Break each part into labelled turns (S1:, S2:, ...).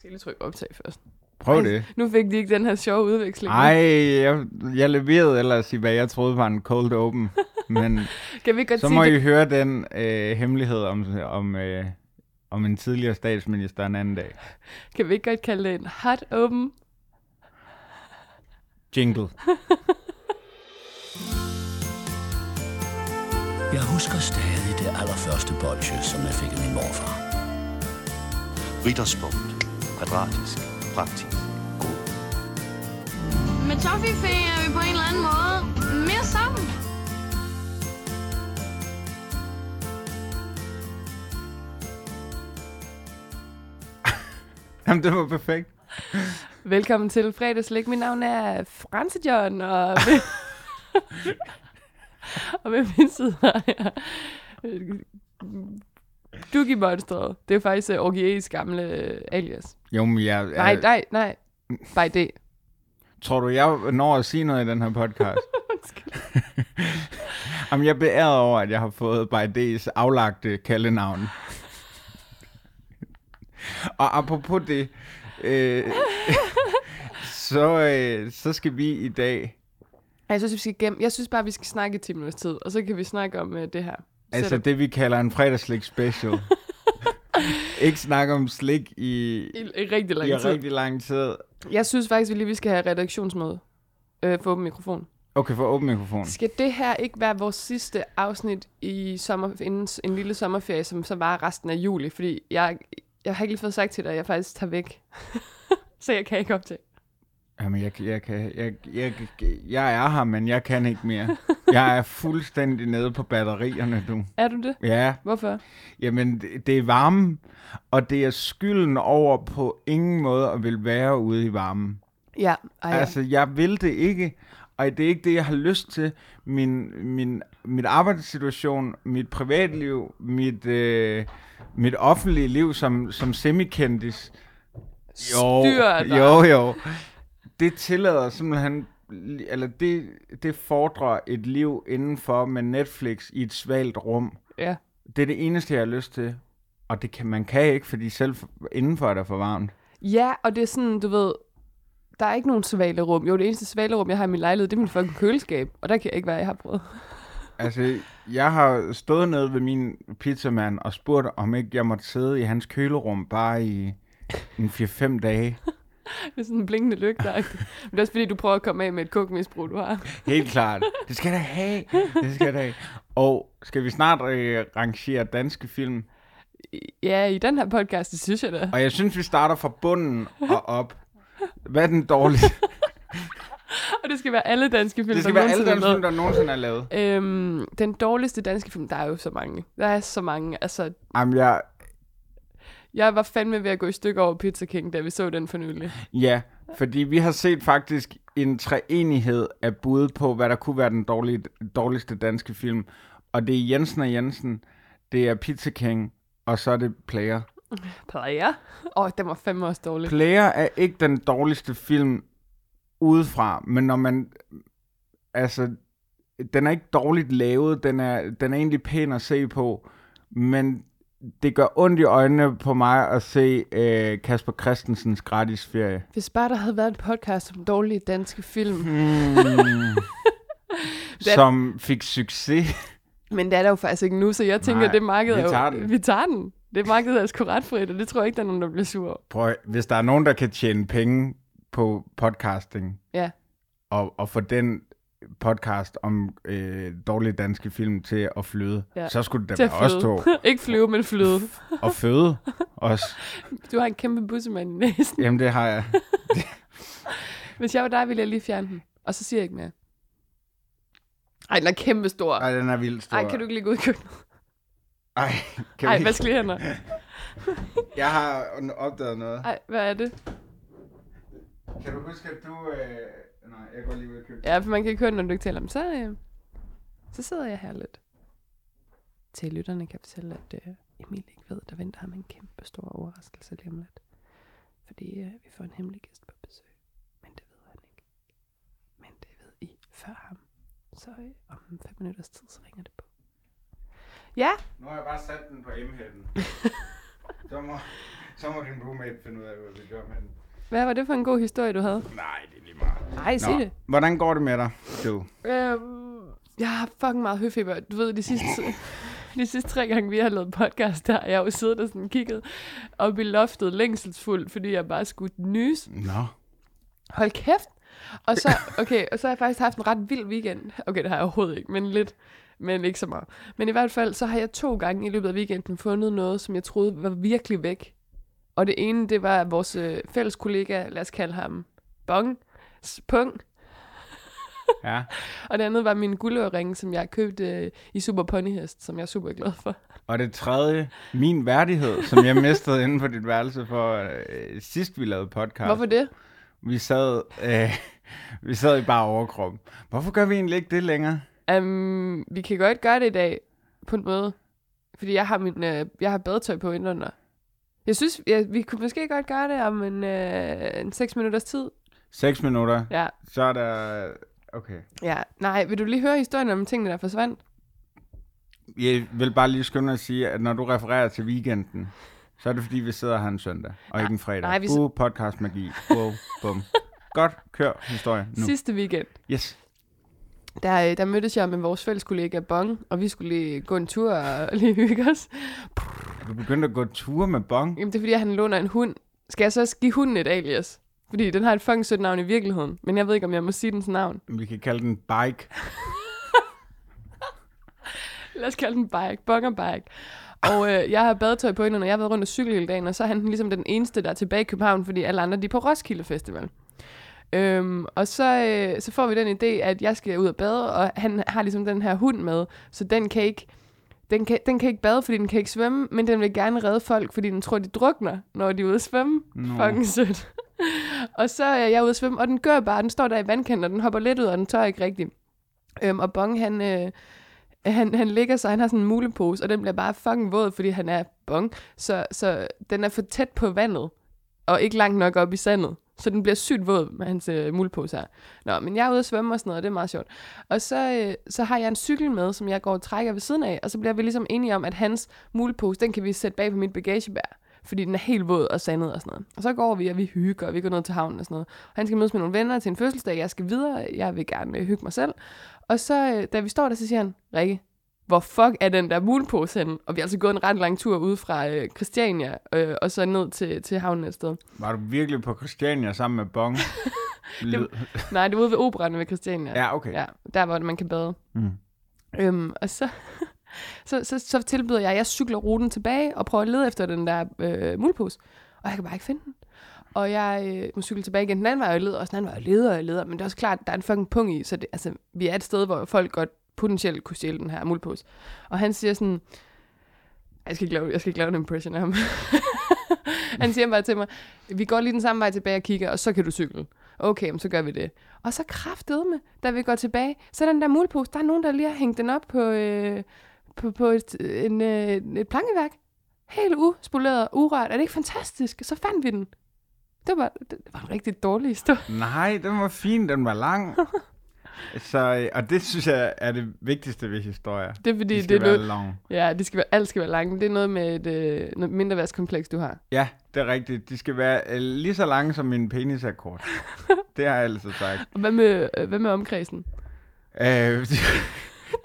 S1: skal lige trykke optag først.
S2: Prøv
S1: Ej,
S2: det.
S1: Nu fik de ikke den her sjove udveksling.
S2: Ej, jeg, jeg leverede ellers i, hvad jeg troede var en cold open. Men
S1: Kan vi godt
S2: så
S1: sige
S2: må
S1: det?
S2: I høre den øh, hemmelighed om, om, øh, om en tidligere statsminister en anden dag.
S1: Kan vi ikke godt kalde det en hot open?
S2: Jingle.
S3: Jeg husker stadig det allerførste bolsje, som jeg fik af min morfar.
S4: Ritterspunkt. Kvadratisk. Praktisk. God.
S5: Med Toffifee er vi på en eller anden måde mere sammen.
S2: Jamen, det var perfekt.
S1: Velkommen til fredagslæg. Mit navn er Franse John, og ved, og ved min side har jeg Dugi Monstret. Det er faktisk uh, Orgies gamle øh, alias.
S2: Jo, men jeg,
S1: Nej,
S2: jeg,
S1: nej, nej. Bare det.
S2: tror du, jeg når at sige noget i den her podcast? Jamen, jeg er beæret over, at jeg har fået By D's aflagte kaldenavn. Og apropos det, øh, så, øh, så skal vi i dag...
S1: Ej, Jeg synes, vi skal gem- jeg synes bare, vi skal snakke i 10 minutters tid, og så kan vi snakke om uh, det her.
S2: Altså
S1: Setup.
S2: det, vi kalder en fredagslik special. ikke snakke om slik i,
S1: I, i rigtig lang
S2: i
S1: tid.
S2: rigtig lang tid.
S1: Jeg synes faktisk, vi lige vi skal have redaktionsmøde øh, for åben mikrofon.
S2: Okay, for åbne mikrofonen.
S1: Skal det her ikke være vores sidste afsnit i sommer, inden s- en lille sommerferie, som så var resten af juli? Fordi jeg, jeg har ikke lige fået sagt til dig, at jeg faktisk tager væk. så jeg kan ikke optage.
S2: Jamen, jeg, jeg, kan, jeg, jeg, jeg, jeg er her, men jeg kan ikke mere. Jeg er fuldstændig nede på batterierne, du.
S1: Er du det?
S2: Ja,
S1: Hvorfor?
S2: jamen, det, det er varmen, og det er skylden over på ingen måde at vil være ude i varmen.
S1: Ja, ej, ja.
S2: Altså, jeg vil det ikke, og det er ikke det, jeg har lyst til. Min, min, mit arbejdssituation, mit privatliv, mit, øh, mit offentlige liv som, som semikendis. Jo,
S1: Styr dig.
S2: jo, jo. Det tillader simpelthen, eller det, det fordrer et liv indenfor med Netflix i et svalt rum.
S1: ja.
S2: Det er det eneste, jeg har lyst til. Og det kan, man kan ikke, fordi selv indenfor er der for varmt.
S1: Ja, og det er sådan, du ved, der er ikke nogen svalerum. Jo, det eneste svalerum, jeg har i min lejlighed, det er min fucking køleskab. Og der kan jeg ikke være, jeg har prøvet.
S2: Altså, jeg har stået nede ved min pizzamand og spurgt, om ikke jeg måtte sidde i hans kølerum bare i en 4-5 dage.
S1: Det er sådan en blinkende lygte. Men det er også fordi, du prøver at komme af med et kukmisbrug, du har.
S2: Helt klart. Det skal jeg da have. Det skal jeg da have. Og skal vi snart øh, rangere danske film?
S1: Ja, i den her podcast, det synes jeg da.
S2: Og jeg synes, vi starter fra bunden og op. Hvad er den dårlige?
S1: Og det skal være alle danske film,
S2: Det skal
S1: der
S2: være alle
S1: nogensinde er
S2: danske
S1: med.
S2: film, der nogensinde er lavet.
S1: Øhm, den dårligste danske film, der er jo så mange. Der er så mange. Altså,
S2: Jamen, jeg,
S1: jeg var fandme ved at gå i stykker over Pizza King, da vi så den for nylig.
S2: Ja, fordi vi har set faktisk en treenighed af bud på, hvad der kunne være den dårlige, dårligste danske film. Og det er Jensen og Jensen, det er Pizza King, og så er det Player.
S1: Player? Åh, oh, den var fandme også dårlig.
S2: Player er ikke den dårligste film udefra, men når man... Altså, den er ikke dårligt lavet, den er, den er egentlig pæn at se på, men det gør ondt i øjnene på mig at se øh, Kasper Christensens gratisferie.
S1: Hvis bare der havde været en podcast om dårlige danske film.
S2: Mm. som fik succes.
S1: Men det er der jo faktisk ikke nu, så jeg tænker,
S2: Nej,
S1: det marked
S2: vi
S1: er jo...
S2: tager den.
S1: Vi tager den. Det marked er sgu ret frit, og det tror jeg ikke, der er nogen, der bliver sur over.
S2: Prøv, at- hvis der er nogen, der kan tjene penge på podcasting,
S1: Ja.
S2: og, og få den podcast om øh, dårlige danske film til at flyde,
S1: Ja.
S2: ja. så skulle det
S1: Til
S2: da
S1: at
S2: være os to.
S1: flyde. ikke flyve, men flyde.
S2: Og føde os.
S1: Du har en kæmpe bussemand i næsen.
S2: Jamen, det har jeg.
S1: Hvis jeg var dig, ville jeg lige fjerne den. Og så siger jeg ikke mere. Ej, den er kæmpe stor.
S2: Ej, den er vildt stor.
S1: Ej, kan du ikke lige gå ud i køkkenet?
S2: Ej, kan
S1: Ej,
S2: vi...
S1: hvad skal jeg nå?
S2: Jeg har opdaget noget.
S1: Ej, hvad er det?
S2: Kan du huske, at du... Øh... Nej, jeg går lige ud og købe.
S1: Ja, for man kan ikke høre, det, når du ikke taler om. Så, øh, så sidder jeg her lidt. Til lytterne kan jeg fortælle, at øh, Emil ikke ved, der venter ham en kæmpe stor overraskelse lige om lidt. Fordi øh, vi får en hemmelig gæst på besøg. Men det ved han ikke. Men det ved I før ham. Så øh, om fem minutters tid, så ringer det på. Ja,
S2: Nu har jeg bare sat den på m Så må, Så må din roommate finde ud af, hvad vi gør med den.
S1: Hvad var det for en god historie, du havde?
S2: Nej, det er lige meget.
S1: Nej, sig det.
S2: hvordan går det med dig, du?
S1: Øhm, jeg har fucking meget høfeber. Du ved, de sidste, de sidste tre gange, vi har lavet podcast, der har jeg jo siddet og sådan kigget op i loftet længselsfuldt, fordi jeg bare skulle nys.
S2: Nå.
S1: Hold kæft! Og så, okay, og så har jeg faktisk haft en ret vild weekend. Okay, det har jeg overhovedet ikke, men lidt. Men ikke så meget. Men i hvert fald, så har jeg to gange i løbet af weekenden fundet noget, som jeg troede var virkelig væk. Og det ene, det var vores øh, fælles kollega, lad os kalde ham Bong, S- Pung,
S2: Ja.
S1: og det andet var min guldørring, som jeg købte øh, i Super Ponyhest, som jeg er super glad for.
S2: Og det tredje, min værdighed, som jeg mistede inden for dit værelse for øh, sidst, vi lavede podcast.
S1: Hvorfor det?
S2: Vi sad, øh, vi sad i bare overkrop. Hvorfor gør vi egentlig ikke det længere?
S1: Um, vi kan godt gøre det i dag, på en måde. Fordi jeg har, min, øh, jeg har badetøj på indenunder. Jeg synes, ja, vi kunne måske godt gøre det om en, øh, en 6 minutters tid.
S2: 6 minutter,
S1: Ja.
S2: så er der... Okay.
S1: ja. Nej, vil du lige høre historien om tingene, der forsvandt?
S2: Jeg vil bare lige skynde mig at sige, at når du refererer til weekenden, så er det fordi, vi sidder her en søndag, og ikke en fredag.
S1: nej, vi s-
S2: Uh, podcast magi. Wow, bum. Godt, kør historien nu.
S1: Sidste weekend,
S2: Yes.
S1: der, øh, der mødtes jeg med vores fælles kollega Bong, og vi skulle lige gå en tur og lige hygge os.
S2: Er Du begyndte at gå ture med bong.
S1: Jamen, det er fordi, at han låner en hund. Skal jeg så også give hunden et alias? Fordi den har et fucking sødt navn i virkeligheden. Men jeg ved ikke, om jeg må sige dens navn.
S2: Vi kan kalde den bike.
S1: Lad os kalde den Bike. Bonger Bike. Og øh, jeg har badetøj på inden, og jeg har været rundt og cykle hele dagen. Og så er han ligesom den eneste, der er tilbage i København, fordi alle andre de er på Roskilde Festival. Øhm, og så, øh, så får vi den idé, at jeg skal ud og bade, og han har ligesom den her hund med, så den kan ikke den kan, den kan ikke bade, fordi den kan ikke svømme, men den vil gerne redde folk, fordi den tror, de drukner, når de er ude at svømme.
S2: Nå.
S1: Fucking sødt. og så er jeg ude at svømme, og den gør bare, den står der i vandkanten, og den hopper lidt ud, og den tør ikke rigtigt. Øhm, og Bong, han, øh, han, han ligger sig, han har sådan en mulepose, og den bliver bare fucking våd, fordi han er Bong. Så, så den er for tæt på vandet, og ikke langt nok op i sandet. Så den bliver sygt våd med hans øh, mulepose her. Nå, men jeg er ude at svømme og sådan noget, og det er meget sjovt. Og så, øh, så har jeg en cykel med, som jeg går og trækker ved siden af, og så bliver vi ligesom enige om, at hans mulepose, den kan vi sætte bag på mit bagagebær, fordi den er helt våd og sandet og sådan noget. Og så går vi, og vi hygger, og vi går ned til havnen og sådan noget. Og han skal mødes med nogle venner til en fødselsdag, jeg skal videre, jeg vil gerne øh, hygge mig selv. Og så, øh, da vi står der, så siger han, Rikke, hvor fuck er den der mulepose henne? Og vi har altså gået en ret lang tur ude fra øh, Christiania, øh, og så ned til, til havnen et sted.
S2: Var du virkelig på Christiania sammen med bong? Lyd.
S1: Nej, det var ude ved operan ved Christiania.
S2: Ja, okay.
S1: Ja, der hvor man kan bade.
S2: Mm.
S1: Øhm, og så, så, så, så tilbyder jeg, at jeg cykler ruten tilbage og prøver at lede efter den der øh, mulepose. Og jeg kan bare ikke finde den. Og jeg øh, må cykle tilbage igen den anden vej, og jeg leder, og den anden vej, og jeg leder, og jeg leder. Men det er også klart, at der er en fucking pung i, så det, altså, vi er et sted, hvor folk godt potentielt kunne stjæle den her mulepose. Og han siger sådan, jeg skal ikke lave, jeg skal ikke lave en impression af ham. han siger bare til mig, vi går lige den samme vej tilbage og kigger, og så kan du cykle. Okay, jamen, så gør vi det. Og så kraftedeme, da vi går tilbage, så er den der mulepose, der er nogen, der lige har hængt den op på, øh, på, på et, en, øh, et plankeværk. Helt uspoleret og urørt. Er det ikke fantastisk? Så fandt vi den. Det var, det var en rigtig dårlig historie.
S2: Nej, den var fin, den var lang. Så, øh, og det synes jeg er det vigtigste ved historier.
S1: Det er fordi,
S2: De
S1: det,
S2: skal
S1: det, er
S2: være
S1: noget-
S2: long.
S1: ja, det skal være, alt skal være langt, men det er noget med et øh, noget mindre værtskompleks, du har.
S2: Ja, det er rigtigt. De skal være øh, lige så lange som min penis er kort. det har jeg altid sagt.
S1: Og hvad med, øh, hvad med omkredsen?
S2: Øh,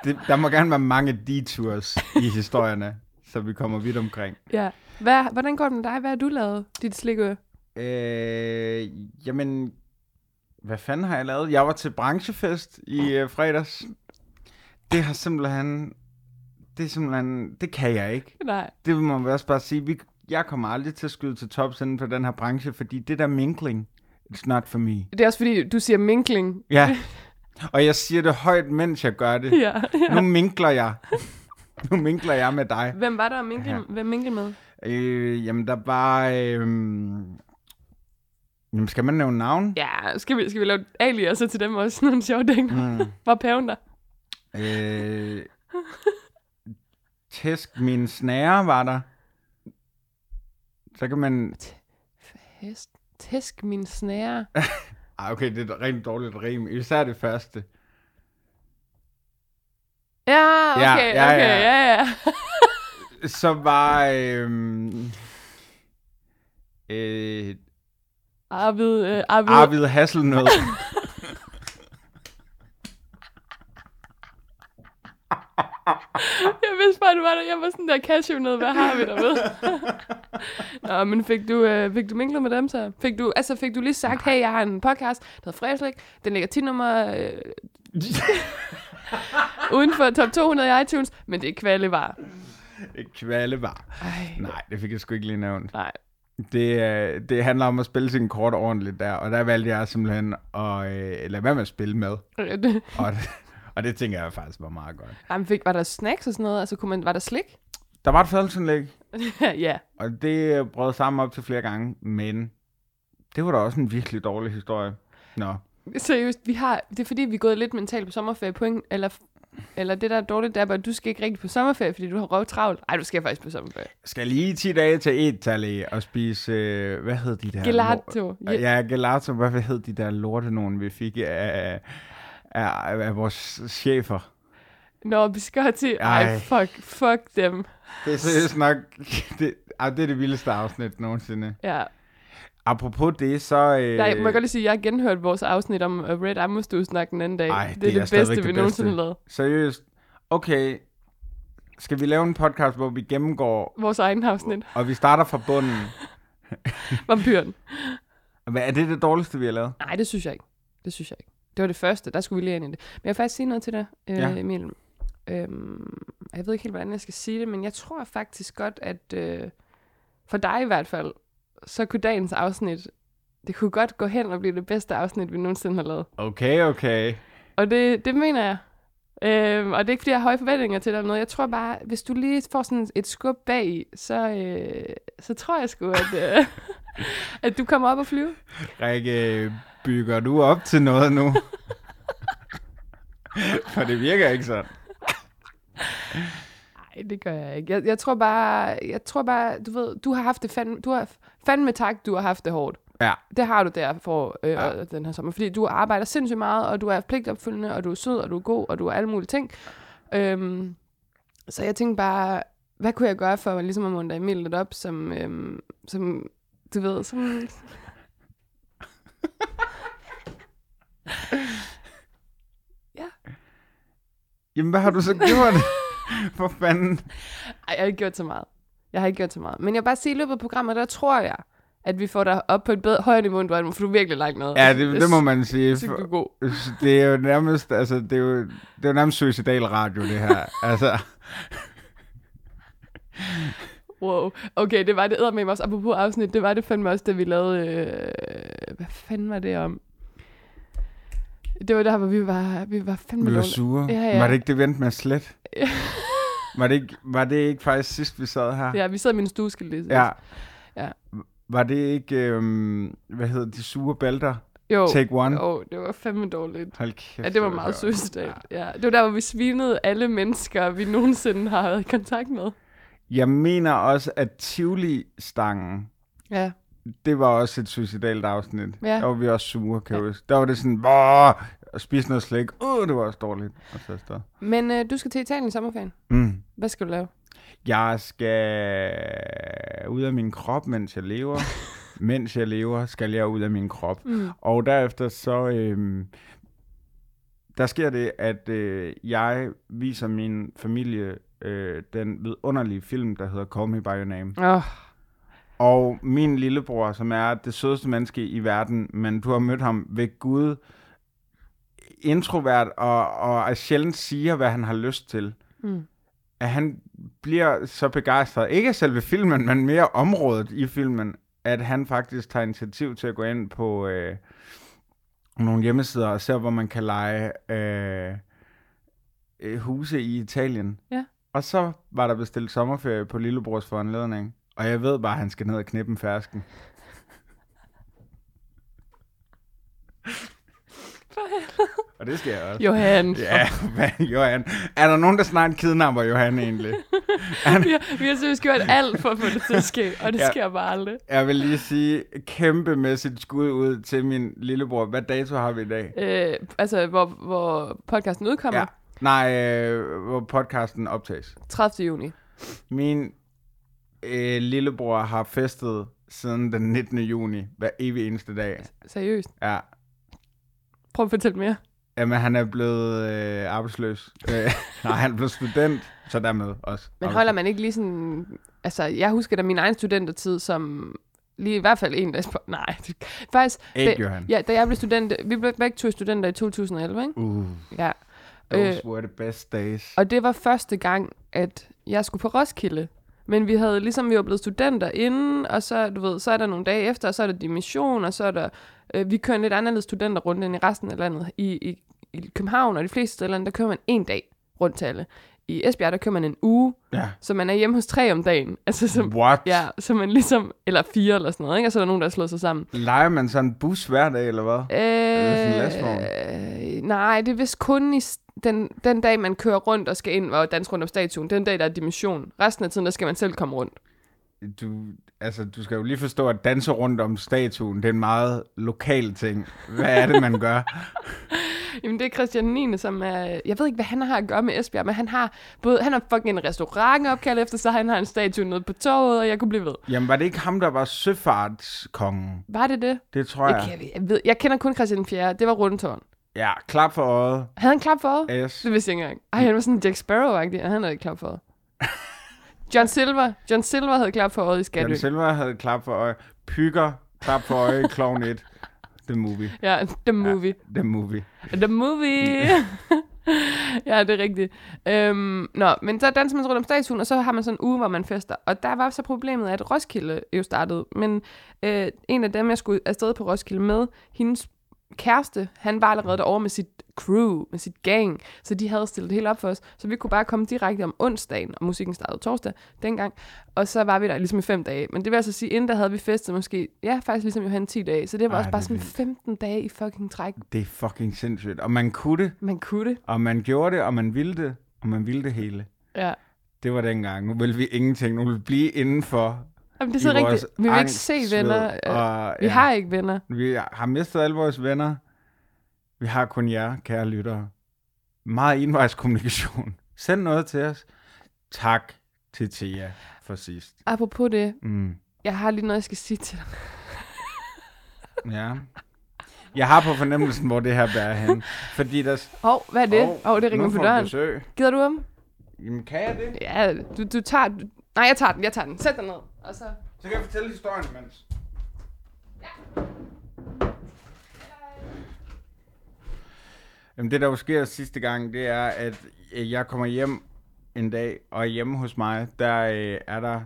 S2: det, der må gerne være mange detours i historierne, så vi kommer vidt omkring.
S1: Ja. Hvad, hvordan går det med dig? Hvad har du lavet, dit slikø?
S2: Øh, jamen, hvad fanden har jeg lavet? Jeg var til branchefest i øh, fredags. Det har simpelthen... Det er simpelthen... Det kan jeg ikke.
S1: Nej.
S2: Det må man også bare sige. Vi, jeg kommer aldrig til at skyde til tops inden for den her branche, fordi det der minkling, it's not for me.
S1: Det er også fordi, du siger minkling.
S2: Ja. Og jeg siger det højt, mens jeg gør det.
S1: Ja,
S2: Nu
S1: ja.
S2: minkler jeg. Nu minkler jeg med dig.
S1: Hvem var der at minkle,
S2: Ja.
S1: hvem minkle med?
S2: Øh, jamen, der var... Øh, jamen, skal man nævne navn?
S1: Ja, skal vi, skal vi lave et aliaser til dem også? Nogle sjove ting. Mm.
S2: Mm.
S1: Var paven der?
S2: Øh, tæsk min snære var der. Så kan man...
S1: Hest, tæsk min snære.
S2: Ah, okay, det er et rent dårligt rim. Især det første.
S1: Ja, okay,
S2: ja,
S1: okay,
S2: ja.
S1: ja, ja.
S2: Så var... Øh, øhm, øh,
S1: Arvid, øh, Arvid, Arvid.
S2: Arvid Hasselnød.
S1: Jeg vidste bare, du var der. Jeg var sådan der cashew ned. Hvad har vi der ved? Nå, men fik du, øh, fik du minglet med dem så? Fik du, altså, fik du lige sagt, hey, jeg har en podcast, der hedder Fræslik. Den ligger 10 nummer øh, uden for top 200 i iTunes, men det er kvallevar.
S2: Kvalevar.
S1: Ej,
S2: Nej, det fik jeg sgu ikke lige nævnt.
S1: nej.
S2: Det, øh, det handler om at spille sine kort ordentligt der, og der valgte jeg simpelthen at øh, lade være med at spille med.
S1: Øh,
S2: Og, og det tænker jeg faktisk var meget godt.
S1: Jamen, fik, var der snacks og sådan noget? Altså, kunne man, var der slik?
S2: Der var et fadelsindlæg,
S1: ja.
S2: og det øh, brød sammen op til flere gange, men det var da også en virkelig dårlig historie. Nå,
S1: Seriøst, vi har, det er fordi, vi er gået lidt mentalt på sommerferie. Point, eller, eller det, der er dårligt, det er bare, at du skal ikke rigtig på sommerferie, fordi du har røv travlt. Nej, du skal faktisk på sommerferie.
S2: skal lige 10 dage til Italy og spise, øh, hvad hed de der?
S1: Gelato.
S2: Ja, ja gelato. Hvad hed de der lorte nogen, vi fik af, af, af vores chefer?
S1: Nå, vi skal til... Ej,
S2: Ej.
S1: fuck, fuck dem.
S2: Det er seriøst nok, det, ah, det er det vildeste afsnit nogensinde.
S1: Ja.
S2: Apropos det, så... Øh,
S1: Nej, må jeg godt lige sige, at jeg har genhørt vores afsnit om øh, Red Amostus snak den anden dag.
S2: Ej,
S1: det,
S2: det
S1: er
S2: er
S1: det
S2: stadigvæk
S1: bedste,
S2: det
S1: vi
S2: bedste.
S1: nogensinde har lavet.
S2: Seriøst. Okay, skal vi lave en podcast, hvor vi gennemgår,
S1: Vores egen afsnit.
S2: og vi starter fra bunden?
S1: Vampyren.
S2: Hvad er det det dårligste, vi har lavet?
S1: Nej, det synes jeg ikke. Det synes jeg ikke. Det var det første, der skulle vi lige ind i det. Men jeg vil faktisk sige noget til dig, øh, ja.
S2: Ja.
S1: Emil. Øhm, og jeg ved ikke helt, hvordan jeg skal sige det, men jeg tror faktisk godt, at øh, for dig i hvert fald, så kunne dagens afsnit, det kunne godt gå hen og blive det bedste afsnit, vi nogensinde har lavet.
S2: Okay, okay.
S1: Og det, det mener jeg. Øhm, og det er ikke, fordi jeg har høje forventninger til dig eller noget. Jeg tror bare, hvis du lige får sådan et skub bag i, så, øh, så tror jeg sgu, at, øh, at du kommer op og flyve.
S2: Rikke, bygger du op til noget nu? For det virker ikke sådan.
S1: Nej, det gør jeg ikke. Jeg, jeg, tror bare, jeg tror bare, du ved, du har haft det fandme, du har fandme tak, du har haft det hårdt.
S2: Ja,
S1: Det har du der for øh,
S2: Ja.
S1: ja. den her sommer, fordi du arbejder sindssygt meget, og du er pligtopfyldende, og du er sød, og du er god, og du er alle mulige ting. Øhm, så jeg tænkte bare, hvad kunne jeg gøre for ligesom at muntre Emil lidt op, som, øhm, som du ved, som... ja,
S2: Jamen, hvad har du så gjort? For fanden.
S1: Ej, jeg har ikke gjort så meget. Jeg har ikke gjort så meget. Men jeg vil bare sige, at i løbet af programmet, der tror jeg, at vi får dig op på et bedre, højere niveau, end du er nu, for du har virkelig lagt noget.
S2: Ja, det, det må man sige.
S1: Synes, du er god.
S2: Det er jo nærmest, altså, det er jo, det er jo nærmest suicidal radio, det her. Altså,
S1: Wow. Okay, det var det eddermame også. Apropos afsnit, det var det fandme også, da vi lavede... Øh, hvad fanden var det om? Det var der, hvor vi var, vi var fandme
S2: vi var
S1: dårlige.
S2: sure.
S1: Ja, ja.
S2: Var det ikke det, vi endte med at slet?
S1: Ja.
S2: Var det, ikke, var det ikke faktisk sidst, vi sad her?
S1: Ja, vi sad i min stue, skal jeg lige sige.
S2: ja.
S1: Ja.
S2: Var det ikke, øhm, hvad hedder de sure bælter?
S1: Jo,
S2: Take one.
S1: jo, det var fandme dårligt.
S2: Hold kæft.
S1: Ja, det var
S2: hvor
S1: meget
S2: sjovt.
S1: søsdag. Ja. Det var der, hvor vi svinede alle mennesker, vi nogensinde har været i kontakt med.
S2: Jeg mener også, at Tivoli-stangen,
S1: Ja.
S2: det var også et suicidalt afsnit.
S1: Ja.
S2: Der var vi også sure, kan ja. Der var det sådan, "Åh, og spise noget slik. Uh, det var også dårligt. Og så afsted.
S1: Men øh, du skal til Italien i sommerferien.
S2: Mm.
S1: Hvad skal du lave?
S2: Jeg skal ud af min krop, mens jeg lever. mens jeg lever, skal jeg ud af min krop. Mm. Og derefter så... Øhm, der sker det, at øh, jeg viser min familie øh, den vidunderlige film, der hedder Call Me By Your Name.
S1: Åh, oh,
S2: Og min lillebror, som er det sødeste menneske i verden, men du har mødt ham ved Gud, introvert og, og er sjældent siger, hvad han har lyst til.
S1: Mm.
S2: At han bliver så begejstret, ikke af selve filmen, men mere området i filmen, at han faktisk tager initiativ til at gå ind på øh, nogle hjemmesider og ser, hvor man kan lege øh, øh, huse i Italien.
S1: Ja.
S2: Og så var der bestilt sommerferie på lillebrors foranledning. Og jeg ved bare, at han skal ned og knippe en fersken. Og det skal jeg også.
S1: Johan. Yeah.
S2: Ja, hvad, Johan. Er der nogen, der snart kidnapper Johan egentlig? Han,
S1: Vi, har, vi har seriøst gjort alt for at få det til at ske, og det ja.
S2: Ja.
S1: sker bare aldrig.
S2: jeg vil lige sige kæmpemæssigt skud ud til min lillebror. Hvad dato har vi i dag?
S1: Øh, altså, hvor, hvor podcasten udkommer, ja.
S2: Nej, øh, hvor podcasten optages.
S1: 30. juni.
S2: Min øh, lillebror har festet siden den 19. juni, hver evig eneste dag.
S1: Seriøst.
S2: Ja.
S1: Prøv at fortælle mere.
S2: Jamen, han er blevet øh, arbejdsløs. Øh, nej, han er blevet student, så dermed også.
S1: Men holder man ikke lige sådan... Altså, jeg husker da min egen studentertid som... Lige i hvert fald en, der... Nej, det- faktisk...
S2: Ikke,
S1: da,
S2: Johan.
S1: ja, da jeg blev student... Vi blev begge to studenter i 2011, ikke?
S2: Uh,
S1: Ja. Øh,
S2: those were the best days.
S1: Og det var første gang, at jeg skulle på Roskilde. Men vi havde ligesom, vi var blevet studenter inden, og så, du ved, så er der nogle dage efter, og så er der dimission, og så er der... Øh, vi kører en lidt anderledes studenterrunde end i resten af landet. I, i, i København og de fleste steder, i landet, der kører man en dag rundt til alle. I Esbjerg, der kører man en uge,
S2: Ja.
S1: så man er hjemme hos tre om dagen. Altså, som,
S2: What?
S1: ja, så man ligesom... Eller fire eller sådan noget, ikke? Og så er der nogen, der har slået sig sammen.
S2: Leger man så en bus hver dag, eller hvad? det sådan en
S1: Øh, nej, det er vist kun i s- den, den dag, man kører rundt og skal ind og danse rundt om statuen. Den dag, der er dimension. Resten af tiden, der skal man selv komme rundt.
S2: Du, altså, du skal jo lige forstå, at danse rundt om statuen, det er en meget lokal ting. Hvad er det, man gør?
S1: Jamen, det er Christian 9., som er... Jeg ved ikke, hvad han har at gøre med Esbjerg, men han har både... Han har fucking en restaurant opkaldt efter sig, han har en statue nede på toget, og jeg kunne blive ved.
S2: Jamen, var det ikke ham, der var søfartskongen?
S1: Var det det?
S2: Det tror
S1: Jeg,
S2: jeg.
S1: kan- jeg, ved, jeg kender kun Christian 4. Det var rundtårn.
S2: Ja, klap for øjet.
S1: Havde han klap for øjet?
S2: Yes.
S1: Det vidste jeg ikke engang. Ej, han var sådan Jack Sparrow-agtig, og han havde ikke klap for øjet. John Silver. John Silver havde klap for øjet i Skatø.
S2: Jan Silver havde klap for øje. Pykker, klap for øje, Clown 1. The movie.
S1: Ja, The Movie.
S2: The movie.
S1: Ja. The Movie! ja, det er rigtigt. Øhm, nå, men så danser man rundt om statuen, og så har man sådan en uge, hvor man fester. Og der var så problemet, at Roskilde jo startede. Men øh, en af dem, jeg skulle afsted på Roskilde med, hendes kæreste, han var allerede derovre med sit crew, med sit gang, så de havde stillet det hele op for os, så vi kunne bare komme direkte om onsdagen, og musikken startede torsdag dengang, og så var vi der ligesom i fem dage. Men det vil altså sige, inden der havde vi festet måske, ja, faktisk ligesom Johan 10 dage, så det var Ej,
S2: Ej,
S1: også bare
S2: det er
S1: sådan
S2: vildt.
S1: 15 dage i fucking træk.
S2: Det er fucking sindssygt. Og man kunne det,
S1: Man kunne det.
S2: og man gjorde det, og man ville det, og man ville det hele.
S1: Ja.
S2: Det var dengang. Nu vil vi ingenting. Nu vil vi blive indenfor.
S1: Jamen, det er så
S2: i vores
S1: rigtigt. Vi vil ikke
S2: angst,
S1: se
S2: sved
S1: venner. Og,
S2: Og,
S1: vi har ikke venner.
S2: Vi har mistet alle vores venner. Vi har kun jer, kære lyttere. Meget envejskommunikation. Send noget til os. Tak til Thea for sidst.
S1: Apropos det,
S2: Mm.
S1: jeg har lige noget, jeg skal sige til dig.
S2: Ja. Jeg har på fornemmelsen, hvor det her bærer hen. Fordi der...
S1: Hov, hvad er det? Åh, oh, det ringer
S2: nu
S1: på
S2: får vi
S1: døren.
S2: Besøg.
S1: Gider du om?
S2: Jamen, kan jeg det?
S1: Ja, du, du tager... Du, nej, jeg tager den, jeg tager den. Sæt dig ned. Og så...
S2: Så kan jeg fortælle historien imens. Jamen, det der jo sker sidste gang, det er, at øh, jeg kommer hjem en dag, og hjemme hos mig, der øh, er der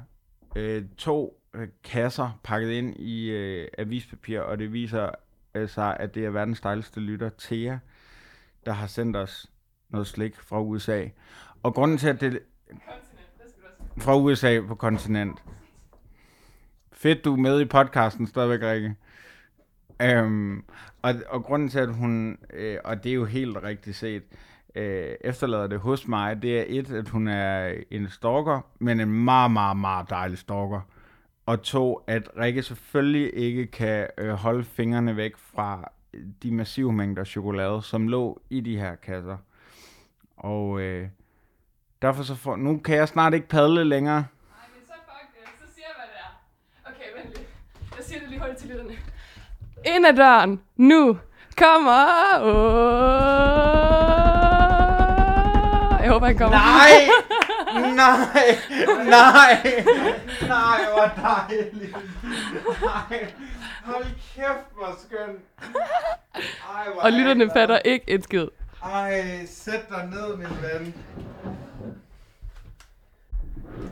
S2: øh, to øh, kasser pakket ind i øh, avispapir, og det viser øh, sig, at det er verdens dejligste lytter, Thea, der har sendt os noget slik fra USA. Og grunden til, at det... Fra USA på kontinent. Fedt, du er med i podcasten stadigvæk, Rikke. Øhm, og, og grunden til, at hun, øh, og det er jo helt rigtigt set, øh, efterlader det hos mig, det er et, at hun er en stalker, men en meget, meget, meget dejlig stalker. Og to, at Rikke selvfølgelig ikke kan øh, holde fingrene væk fra de massive mængder chokolade, som lå i de her kasser. Og øh, derfor så får, nu kan jeg snart ikke padle længere.
S1: Nej, men så fuck det. Så siger jeg, hvad det er. Okay, vent lige. Jeg siger det lige hurtigt til lytterne. Ind ad døren. Nu kommer... Jeg håber, han kommer.
S2: Nej! Nej! Nej! Nej, hvor dejligt! Nej! Hold kæft, hvor skønt! Ej, hvor
S1: Og
S2: er
S1: lytterne
S2: jeg glad.
S1: fatter ikke en skid.
S2: Ej, sæt dig ned, min ven.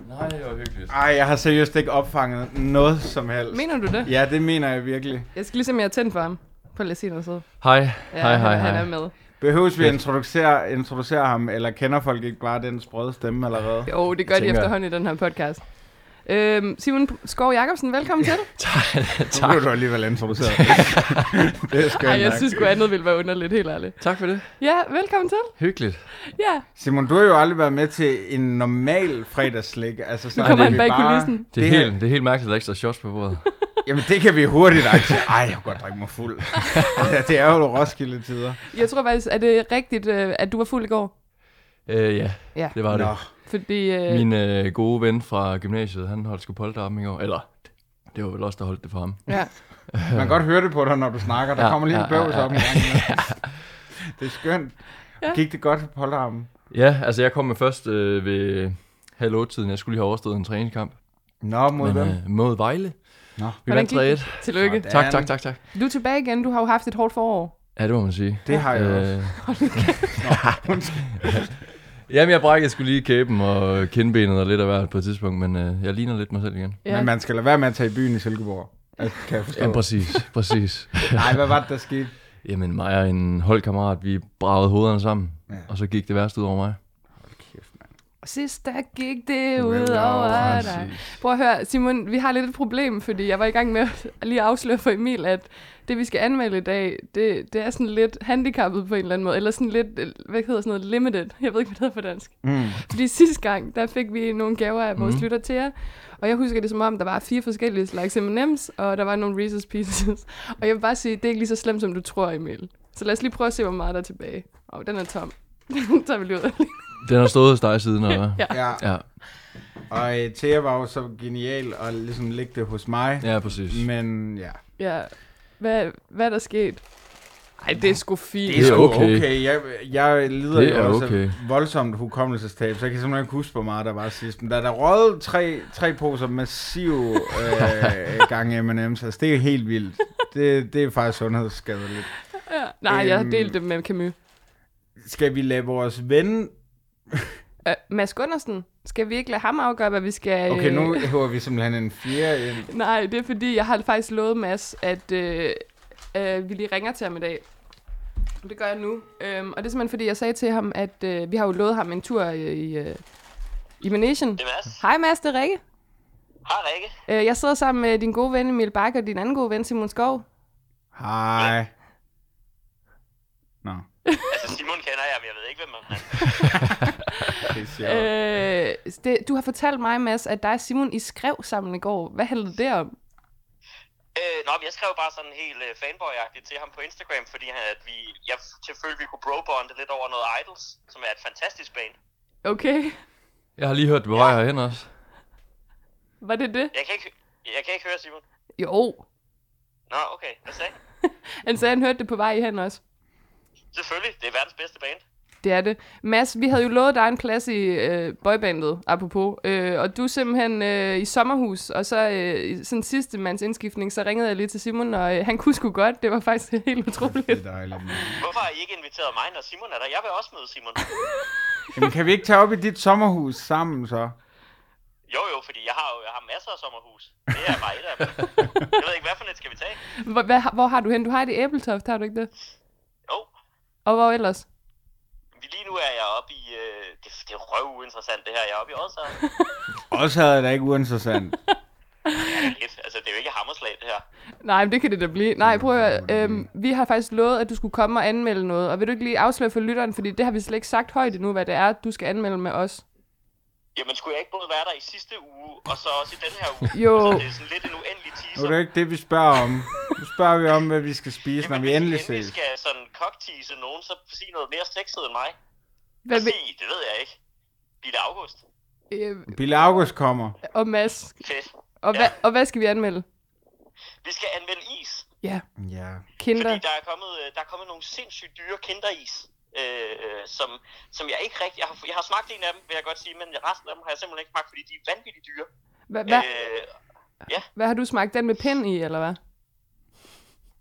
S6: Nej, det var hyggeligt.
S2: Ej, jeg har seriøst ikke opfanget noget som helst.
S1: Mener du det?
S2: Ja, det mener jeg virkelig.
S1: Jeg skal ligesom, jeg er tændt for ham. Prøv lige at sige noget så.
S6: Hej,
S1: Ja,
S6: hej, hej,
S1: han,
S6: hej.
S1: han er med.
S2: Behøves vi at introducere, introducere ham, eller kender folk ikke bare den sprøde stemme allerede?
S1: Jo, det gør de
S6: Tænker jeg.
S1: efterhånden i den her podcast. Øhm, Simon Skov Jacobsen, velkommen til.
S2: Nu blev du alligevel introduceret. det er skønt
S1: Ej, jeg
S2: nok.
S1: synes sgu andet ville være underligt, helt ærligt.
S6: Tak for det.
S1: Ja, velkommen til.
S6: Hyggeligt.
S1: Ja,
S2: Simon, du har jo aldrig været med til en normal fredagsslik. Altså, så
S1: nu kommer
S2: er
S1: han
S2: det
S1: bag
S2: bare-
S1: kulissen.
S6: Det er,
S2: her-
S6: helt, det er helt mærkeligt, at der ikke står shots på bordet.
S2: Jamen, det kan vi hurtigt acceptere. Ej, jeg kunne godt drikke mig fuld. ja, det er jo Roskilde-tider.
S1: Jeg tror faktisk, er det rigtigt, øh, at du var fuld i går?
S6: øh, ja,
S1: Ja,
S6: det var det.
S2: Nå,
S1: fordi... Øh,
S6: Min øh, gode ven fra gymnasiet, han holdt sgu polterappen i går. Eller, det var vel også der holdt det for ham.
S1: Ja.
S2: Man kan godt høre det på dig, når du snakker. Der
S6: Ja,
S2: kommer lige en
S6: ja, ja,
S2: bøvs
S6: ja.
S2: op en gang. imellem. Det er skønt. Gik det godt på polterarmen?
S6: Ja, altså jeg kom med først øh, ved halv otte-tiden. Jeg skulle lige have overstået en træningskamp.
S2: Nå, mod
S6: Men,
S2: hvem?
S6: øh, mod Vejle.
S2: Nå.
S6: Vi
S1: Hvordan
S6: vandt
S1: gik
S6: 3
S1: det? Tillykke.
S2: Sådan.
S6: Tak, tak, tak, tak.
S1: Du er tilbage igen. Du har jo haft et hårdt forår.
S6: Ja, det må man sige.
S2: Det har jeg også.
S6: Øh, Jamen, jeg brækkede skulle lige kæben og kindbenet og lidt af hvert på et tidspunkt, men øh, jeg ligner lidt mig selv igen.
S2: Men man skal lade være med at tage i byen i Silkeborg. Altså, kan jeg forstå.
S6: Ja, præcis, præcis.
S2: Nej, hvad var det, der skete?
S6: Jamen, mig og en holdkammerat, vi bragede hovederne sammen,
S2: Ja.
S6: ja. og så gik det værste ud over mig.
S2: Kæft, mand.
S1: Og sidst der gik det ud
S2: Vel,
S1: over
S2: præcis.
S1: dig. Prøv at høre, Simon, vi har lidt et problem, fordi jeg var i gang med at lige afsløre for Emil, at det, vi skal anmelde i dag, det, det er sådan lidt handicappet på en eller anden måde, eller sådan lidt, øh, hvad hedder sådan noget, limited. Jeg ved ikke, hvad det hedder på dansk.
S2: Mm.
S1: Fordi sidste gang, der fik vi nogle gaver af vores mm. lytter til jer, og jeg husker det som om, der var fire forskellige slags M&M's, og der var nogle Reese's Pieces. Og jeg vil bare sige, det er ikke lige så slemt, som du tror, Emil. Så lad os lige prøve at se, hvor meget der er tilbage. Åh, oh, den er tom. Den tager vi lige ud.
S6: Den har stået hos dig siden, eller hvad?
S1: Ja.
S2: Ja,
S6: Ja,
S2: og øh, Thea var jo så genial og ligesom lægge det hos mig.
S6: ja præcis.
S2: Men ja,
S1: Ja, hvad, hvad er der sket? Ej, det er sgu fint.
S2: det er sgu okay.
S6: okay.
S2: okay. Jeg, jeg lider
S6: Det
S2: jo
S6: er
S2: også
S6: okay.
S2: voldsomt hukommelsestab, så jeg kan simpelthen ikke huske, hvor meget der var sidst. Men der, der røget tre, tre poser massiv øh, gange M&M's, altså det er helt vildt. Det, det er faktisk sundhedsskadeligt.
S1: Ja. Nej, jeg har
S2: Øhm.
S1: delt det med Camus.
S2: Skal vi lade vores ven...
S1: Øh, Mads Gundersen, skal vi ikke lade ham afgøre, hvad vi skal...
S2: Okay,
S1: øh,
S2: nu hører vi simpelthen en fjerde ind.
S1: Nej, det er fordi, jeg har faktisk lovet Mads, at øh, øh, vi lige ringer til ham i dag. Og Det gør jeg nu. Øhm, og det er simpelthen fordi, jeg sagde til ham, at øh, vi har jo lovet ham en tur øh, i, øh, i Manesien.
S7: Det er Mads.
S1: Hej Mads, det er Rikke.
S7: Hej Rikke.
S1: Øh, jeg sidder sammen med din gode ven Emil Bakke og din anden gode ven Simon Skov.
S2: Hej. Nå,
S7: Altså Simon kender jeg, men jeg ved ikke, hvem man er.
S2: det er sjovt.
S1: Øh, det, du har fortalt mig, Mads, at dig og Simon, I skrev sammen i går. Hvad handlede det om?
S7: Øh, nå, men jeg skrev bare sådan helt øh, fanboy-agtigt til ham på Instagram, fordi han, at vi, jeg selvfølgelig vi kunne brobonde lidt over noget Idols, som er et fantastisk band.
S1: Okay,
S6: Jeg har lige hørt, du var herhen også.
S1: var det det?
S7: Jeg kan ikke, jeg kan ikke høre Simon.
S1: Jo.
S7: Nå, okay. Hvad sagde han?
S1: Han sagde, han hørte det på vej hen også.
S7: Selvfølgelig, det er verdens bedste band.
S1: Det er det. Mads, vi havde jo lovet dig en plads i øh, boybandet, apropos, øh, og du er simpelthen øh, i sommerhus, og så øh, i sådan sidste mands indskiftning, så ringede jeg lige til Simon, og øh, han kunne sgu godt. Det var faktisk helt
S2: Det er
S1: utroligt.
S2: dejligt. mand.
S7: Hvorfor har I ikke inviteret mig, når Simon er der? Jeg vil også møde Simon.
S2: Jamen, kan vi ikke tage op i dit sommerhus sammen så?
S7: Jo jo, fordi jeg har jo jeg har masser af sommerhus. Det er bare et af dem. Jeg ved ikke, hvad for et skal vi tage?
S1: Hvor, hvad, har- hvor har du hen? Du har et i Æbletoft, har du ikke det?
S7: Jo,
S1: Og hvor ellers?
S7: vi- lige nu er jeg oppe i... Øh, det, det er røv uinteressant det her. Jeg er oppe i Odsager.
S2: Også havde det ikke uinteressant.
S7: lidt. Altså, det er jo ikke hammerslag, det her.
S1: Nej, men det kan det da blive. Nej, prøv at høre. Øhm, vi har faktisk lovet, at du skulle komme og anmelde noget, og vil du ikke lige afsløre for lytteren, fordi det har vi slet ikke sagt højt endnu, hvad det er, du skal anmelde med os.
S7: Jamen, skulle jeg ikke både være der i sidste uge, og så også i den her uge?
S1: Jo.
S7: Altså, det er sådan lidt en uendelig
S2: Nu
S7: teaser.
S2: er det jo ikke det, vi spørger om. Nu spørger vi om, hvad vi skal spise, når
S7: Jamen,
S2: vi
S7: hvis I
S2: endelig ses.
S7: skal sådan cocktease nogen, så sig noget mere sexet end mig.
S1: Hvad
S7: Sig,
S1: vil,
S7: det ved jeg ikke. Bille August.
S1: øh,
S2: Bille August kommer.
S1: og Mads,
S7: Fedt.
S1: og, hva, og hvad skal vi anmelde?
S7: Vi skal anvende is,
S1: Ja,
S2: Ja.
S1: kinder.
S7: fordi der er kommet, øh, der er kommet nogle sindssygt dyre kinderis. Øh, øh, som, som jeg ikke rigtig... Jeg har, jeg har smagt en af dem, vil jeg godt sige, men resten af dem har jeg simpelthen ikke smagt, fordi de er vanvittigt dyre.
S1: Hva, hva,
S7: Øh,
S1: Hvad har du smagt? Den med pind i, eller hvad?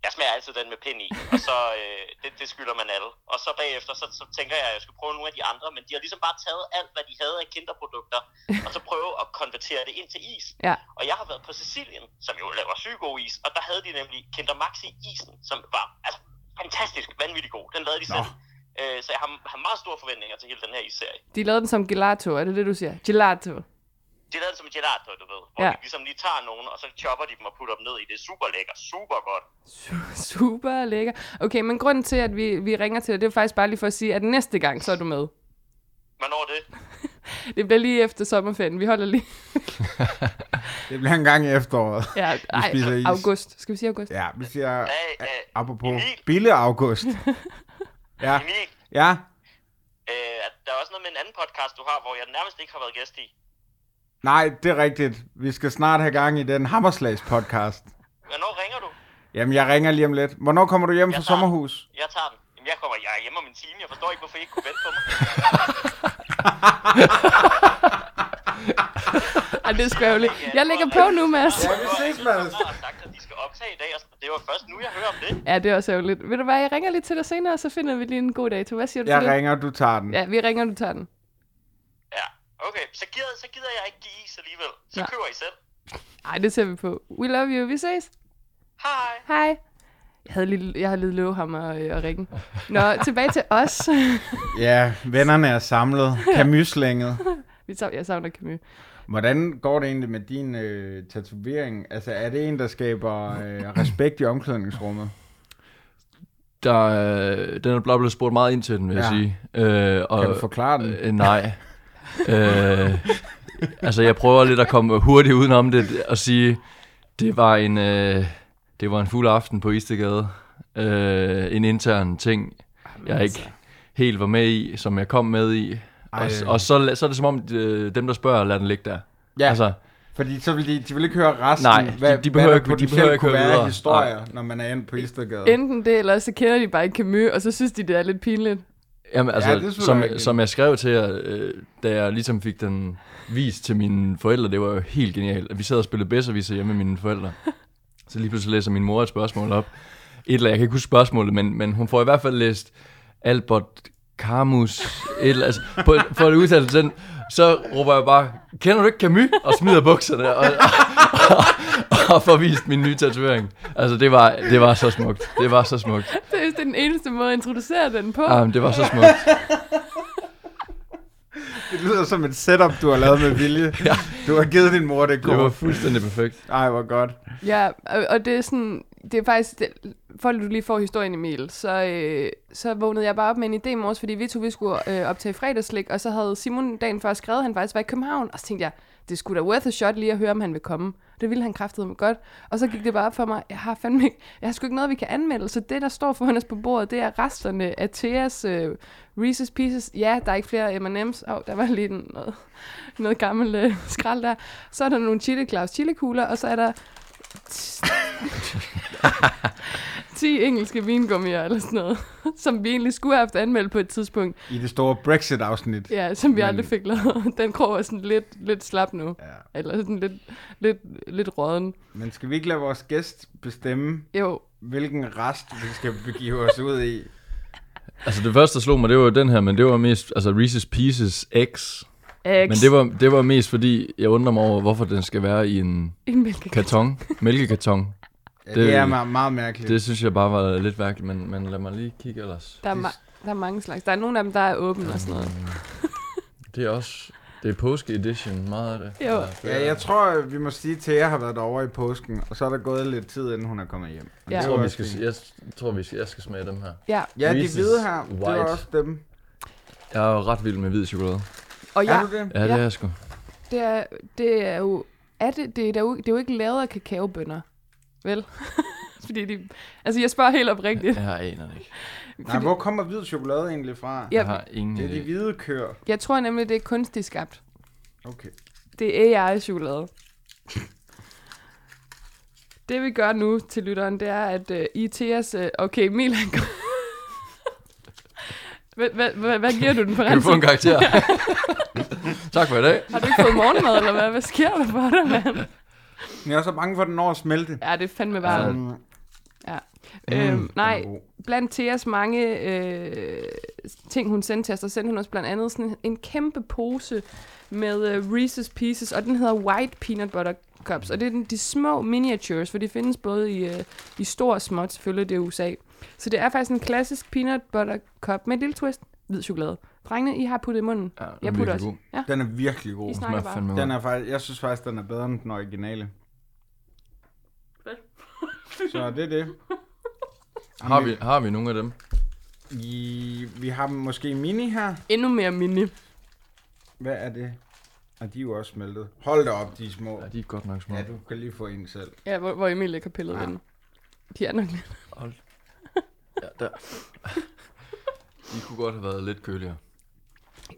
S7: Jeg smager altid den med pind i, og så, øh, det, det skylder man alle. Og så bagefter, så, så tænker jeg, at jeg skulle prøve nogle af de andre, men de har ligesom bare taget alt, hvad de havde af kinderprodukter, og så prøve at konvertere det ind til is.
S1: Ja.
S7: Og jeg har været på Sicilien, som jo laver syg god is, og der havde de nemlig Kinder Maxi-isen, som var altså, fantastisk, vanvittig god. Den lavede de
S2: Nå.
S7: selv. Øh, så jeg har, har meget store forventninger til hele den her isserie.
S1: De lavede den som gelato, er det det, du siger? Gelato.
S7: De lavede det som en gelato, du ved, hvor
S1: Ja.
S7: ja. de ligesom lige tager nogen, og så chopper de dem og putter dem ned i det. Super lækker, super godt.
S1: Su- Super lækker. Okay, men grunden til, at vi, vi ringer til dig, det er faktisk bare lige for at sige, at næste gang, så er du med.
S7: Hvornår er det?
S1: Det bliver lige efter sommerferien. Vi holder lige...
S2: Det bliver en gang i efteråret.
S1: Ja, ej,
S2: spiser is.
S1: august. Skal vi sige august?
S2: Ja, vi siger...
S7: Hey, øh,
S2: Apropos
S7: Emil.
S2: Bille August. Ja,
S7: Emil,
S2: ja.
S7: Øh, at der er også noget med en anden podcast, du har, hvor jeg nærmest ikke har været gæst i.
S2: Nej, det er rigtigt. Vi skal snart have gang i den Hammerslags podcast.
S7: Hvornår ringer du?
S2: Jamen, jeg ringer lige om lidt. Hvornår kommer du hjem fra
S7: Jeg tager den.
S2: sommerhus?
S7: Jeg tager den. Jamen, jeg kommer jeg er hjemme om en time. Jeg forstår ikke, hvorfor I ikke kunne vente på mig.
S1: Ej, det er sgu ærgerligt. Jeg lægger på nu, Mads.
S2: Ja, vi ses, Mads.
S7: Jeg har sagt, at de skal optage i dag, og det var først nu, jeg hører om det.
S1: Ja, det er også ærgerligt. Ved du hvad, jeg ringer lige til dig senere, så finder vi lige en god dato. Hvad siger du
S2: Jeg
S1: til det?
S2: ringer, du tager den.
S1: Ja, vi ringer, du tager den.
S7: Ja, okay. Så gider, så gider jeg ikke give is alligevel. Så
S1: Nej.
S7: køber I selv.
S1: Ej, det ser vi på. We love you. Vi ses.
S7: Hej.
S1: Hej. Jeg havde lige, jeg havde lige lovet ham at, øh, at ringe. Nå, tilbage til os.
S2: Ja, vennerne er samlet. Kamyslænget.
S1: Vi sav, jeg savner Camus.
S2: Hvordan går det egentlig med din øh, tatovering? Altså, er det en, der skaber øh, respekt i omklædningsrummet?
S6: Der, øh, den er blot blevet spurgt meget ind til den, vil ja. jeg
S2: Ja.
S6: sige. Øh, og,
S2: Kan du forklare den?
S6: Øh, nej. øh, altså, jeg prøver lidt at komme hurtigt udenom det og sige, det var en, øh, det var en fuld aften på Istegade. Øh, en intern ting, jeg ikke helt var med i, som jeg kom med i.
S2: altså. Ej.
S6: Og, og så, la- så er det som om, øh, dem der spørger, lader den ligge der.
S2: Ja, altså,
S6: Altså,
S2: fordi så vil de, de vil ikke høre resten.
S6: Nej, de- de behøver
S2: hvad
S6: ikke- de
S2: potentielt
S6: behøver ikke
S2: kunne
S6: høre
S2: være
S6: videre.
S2: af historier, når man er inde på Istergade.
S1: Enten det, eller også så kender de bare ikke Camus, og så synes de, det er lidt pinligt.
S6: Jamen, altså,
S2: det er selvfølgelig
S6: som,
S2: rigtigt.
S6: som jeg skrev til jer, øh, da jeg ligesom fik den vist til mine forældre, det var jo helt genialt. Vi sad og spillede bedserviser hjemme med mine forældre. Så lige pludselig læser min mor et spørgsmål op. Et eller andet, jeg kan ikke huske spørgsmålet, men, men hun får i hvert fald læst Albert Camus, et eller altså, på, for at udtale den, så råber jeg bare, kender du ikke Camus? Og smider bukserne, og, og, og, og får vist min nye tatovering. Altså, det var, det var så smukt. Det var så smukt.
S1: Det er det er den eneste måde at introducere den på.
S6: Jamen, det var så smukt.
S2: Det lyder som et setup, du har lavet med vilje. ja. Du har givet din mor det
S6: Det var
S2: gode.
S6: fuldstændig perfekt.
S2: Ej, hvor godt.
S1: Ja, og, og det er sådan, det er faktisk, det, for at du lige får historien, Emil, så, øh, så vågnede jeg bare op med en idé i morges, fordi vi to vi skulle øh, optage fredagslik, og så havde Simon dagen før skrevet, at han faktisk var i København, og så tænkte jeg, det skulle da worth a shot lige at høre, om han vil komme. Det ville han kraftedeme godt. Og så gik det bare op for mig, jeg har fandme ikke, jeg har sgu ikke noget, vi kan anmelde, så det, der står foran os på bordet, det er resterne af Theas øh, Reese's Pieces. Ja, der er ikke flere M&M's. Åh, oh, der var lige den- noget, noget gammel øh, skrald der. Så er der nogle Chili Claus chili-kugler, og så er der 10 engelske vingummier eller sådan noget, som vi egentlig skulle have haft anmeldt på et tidspunkt.
S2: I det store Brexit-afsnit.
S1: Ja, som vi
S2: Men-
S1: aldrig fik lavet. Den krog er sådan lidt, lidt slap nu.
S2: Ja.
S1: Eller sådan lidt, lidt, lidt råden.
S2: Men skal vi ikke lade vores gæst bestemme,
S1: Jo,
S2: hvilken rest vi skal begive os ud i?
S6: Altså det første, der slog mig, det var den her, men det var mest, altså Reese's Pieces X.
S1: X.
S6: Men det var, det var mest fordi, jeg undrer mig over, hvorfor den skal være i en
S1: En mælkekat.
S6: karton, mælkekarton.
S2: Ja,
S6: Det-
S2: det, det er meget, meget mærkeligt.
S6: Det synes jeg bare var lidt værkeligt, men, men lad mig lige kigge ellers.
S1: Der er, ma- der er mange slags. Der er nogle af dem, der er åbne og sådan noget.
S6: Det er også, det er påske edition, meget af det.
S1: Jo.
S2: Ja, jeg tror, vi må sige, at Thea har været derovre i påsken, og så er der gået lidt tid, inden hun er kommet hjem.
S1: Ja.
S2: Og det
S6: Jeg
S2: er
S6: tror,
S2: jo
S6: vi
S2: også
S6: skal,
S2: fint.
S6: jeg tror, vi skal, jeg skal smage dem her.
S1: Ja,
S2: Ja, de
S6: Reese's
S2: hvide her, det er
S6: White.
S2: også dem.
S6: Jeg er jo ret vild med hvid chokolade.
S1: og
S2: Er
S1: ja,
S2: du det?
S6: Ja, det
S1: Ja.
S6: er jeg sgu.
S1: det er, det er jo... Er det, det, er jo, det er jo ikke lavet af kakaobønner, vel? Fordi de... Altså, jeg spørger helt oprigtigt.
S6: Jeg aner det ikke.
S2: Nej, hvor kommer hvid chokolade egentlig fra?
S1: Ja,
S6: Jeg har ingen
S2: Det er de
S6: idé.
S2: hvide køer.
S1: jeg tror nemlig, det er kunstigt skabt.
S2: Okay.
S1: Det er AI-chokolade. Det vi gør nu til lytteren, det er, at uh, I til os... Uh, okay, Milan... Hvad, hvad, hvad, hvad giver du den for
S6: Kan du få en
S1: rensning?
S6: karakter? tak for i dag.
S1: Har du ikke fået morgenmad, eller hvad? Hvad sker der for dig, mand?
S2: Men jeg er så bange for, at den når at smelte.
S1: Ja, det er fandme varmt.
S2: Mm,
S1: Ja.
S6: Mm.
S1: Øhm, nej,
S2: den er god.
S1: blandt Theas mange øh, ting, hun sendte til os, der sendte hun os blandt andet sådan en kæmpe pose med øh, Reese's Pieces, og den hedder White Peanut Butter Cups, og det er den, de små miniatures, for de findes både i, øh, i stor og småt, selvfølgelig det er USA. Så det er faktisk en klassisk peanut butter cup med et lille twist, hvid chokolade. Drengene, I har puttet i munden.
S6: Ja, den er
S1: jeg putter
S6: virkelig
S1: også.
S6: god.
S1: Ja,
S2: Den er virkelig god.
S1: I
S6: Den
S1: snakker
S6: er
S1: bare.
S6: fandme
S2: Den
S6: god.
S2: er faktisk, jeg synes faktisk, den er bedre end den originale. Så det er det.
S6: Har vi, har vi nogle af dem?
S2: I, vi har måske mini her.
S1: Endnu mere mini.
S2: Hvad er det? Og de er jo også smeltet. Hold da op, de er små.
S6: Ja, de er godt nok små.
S2: Ja, du kan lige få en selv.
S1: Ja, hvor, hvor Emil ikke har pillet
S2: Ja.
S1: den. De er nok lidt.
S6: Ja, der. De kunne godt have været lidt køligere.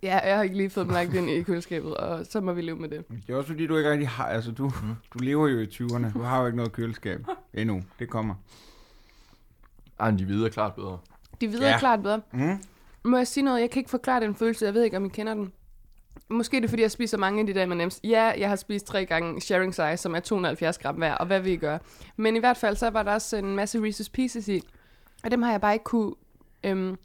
S1: Ja, jeg har ikke lige fået dem lagt ind i køleskabet, og så må vi leve med det.
S2: Det er også fordi, du ikke rigtig har... Altså, du, mm. du lever jo i 20'erne. Du har jo ikke noget køleskab endnu. Det kommer.
S6: Ej, men de hvide er klart bedre.
S1: De videre ja.
S2: Ja.
S1: er klart bedre.
S2: Mm.
S1: Må jeg sige noget? Jeg kan ikke forklare den følelse. Jeg ved ikke, om I kender den. Måske er det, fordi jeg spiser mange af de der M&M's. Ja, jeg har spist tre gange sharing size, som er 270 gram hver, og hvad vil I gøre? Men i hvert fald, så var der også en masse Reese's Pieces i, og dem har jeg bare ikke kunne... Øhm,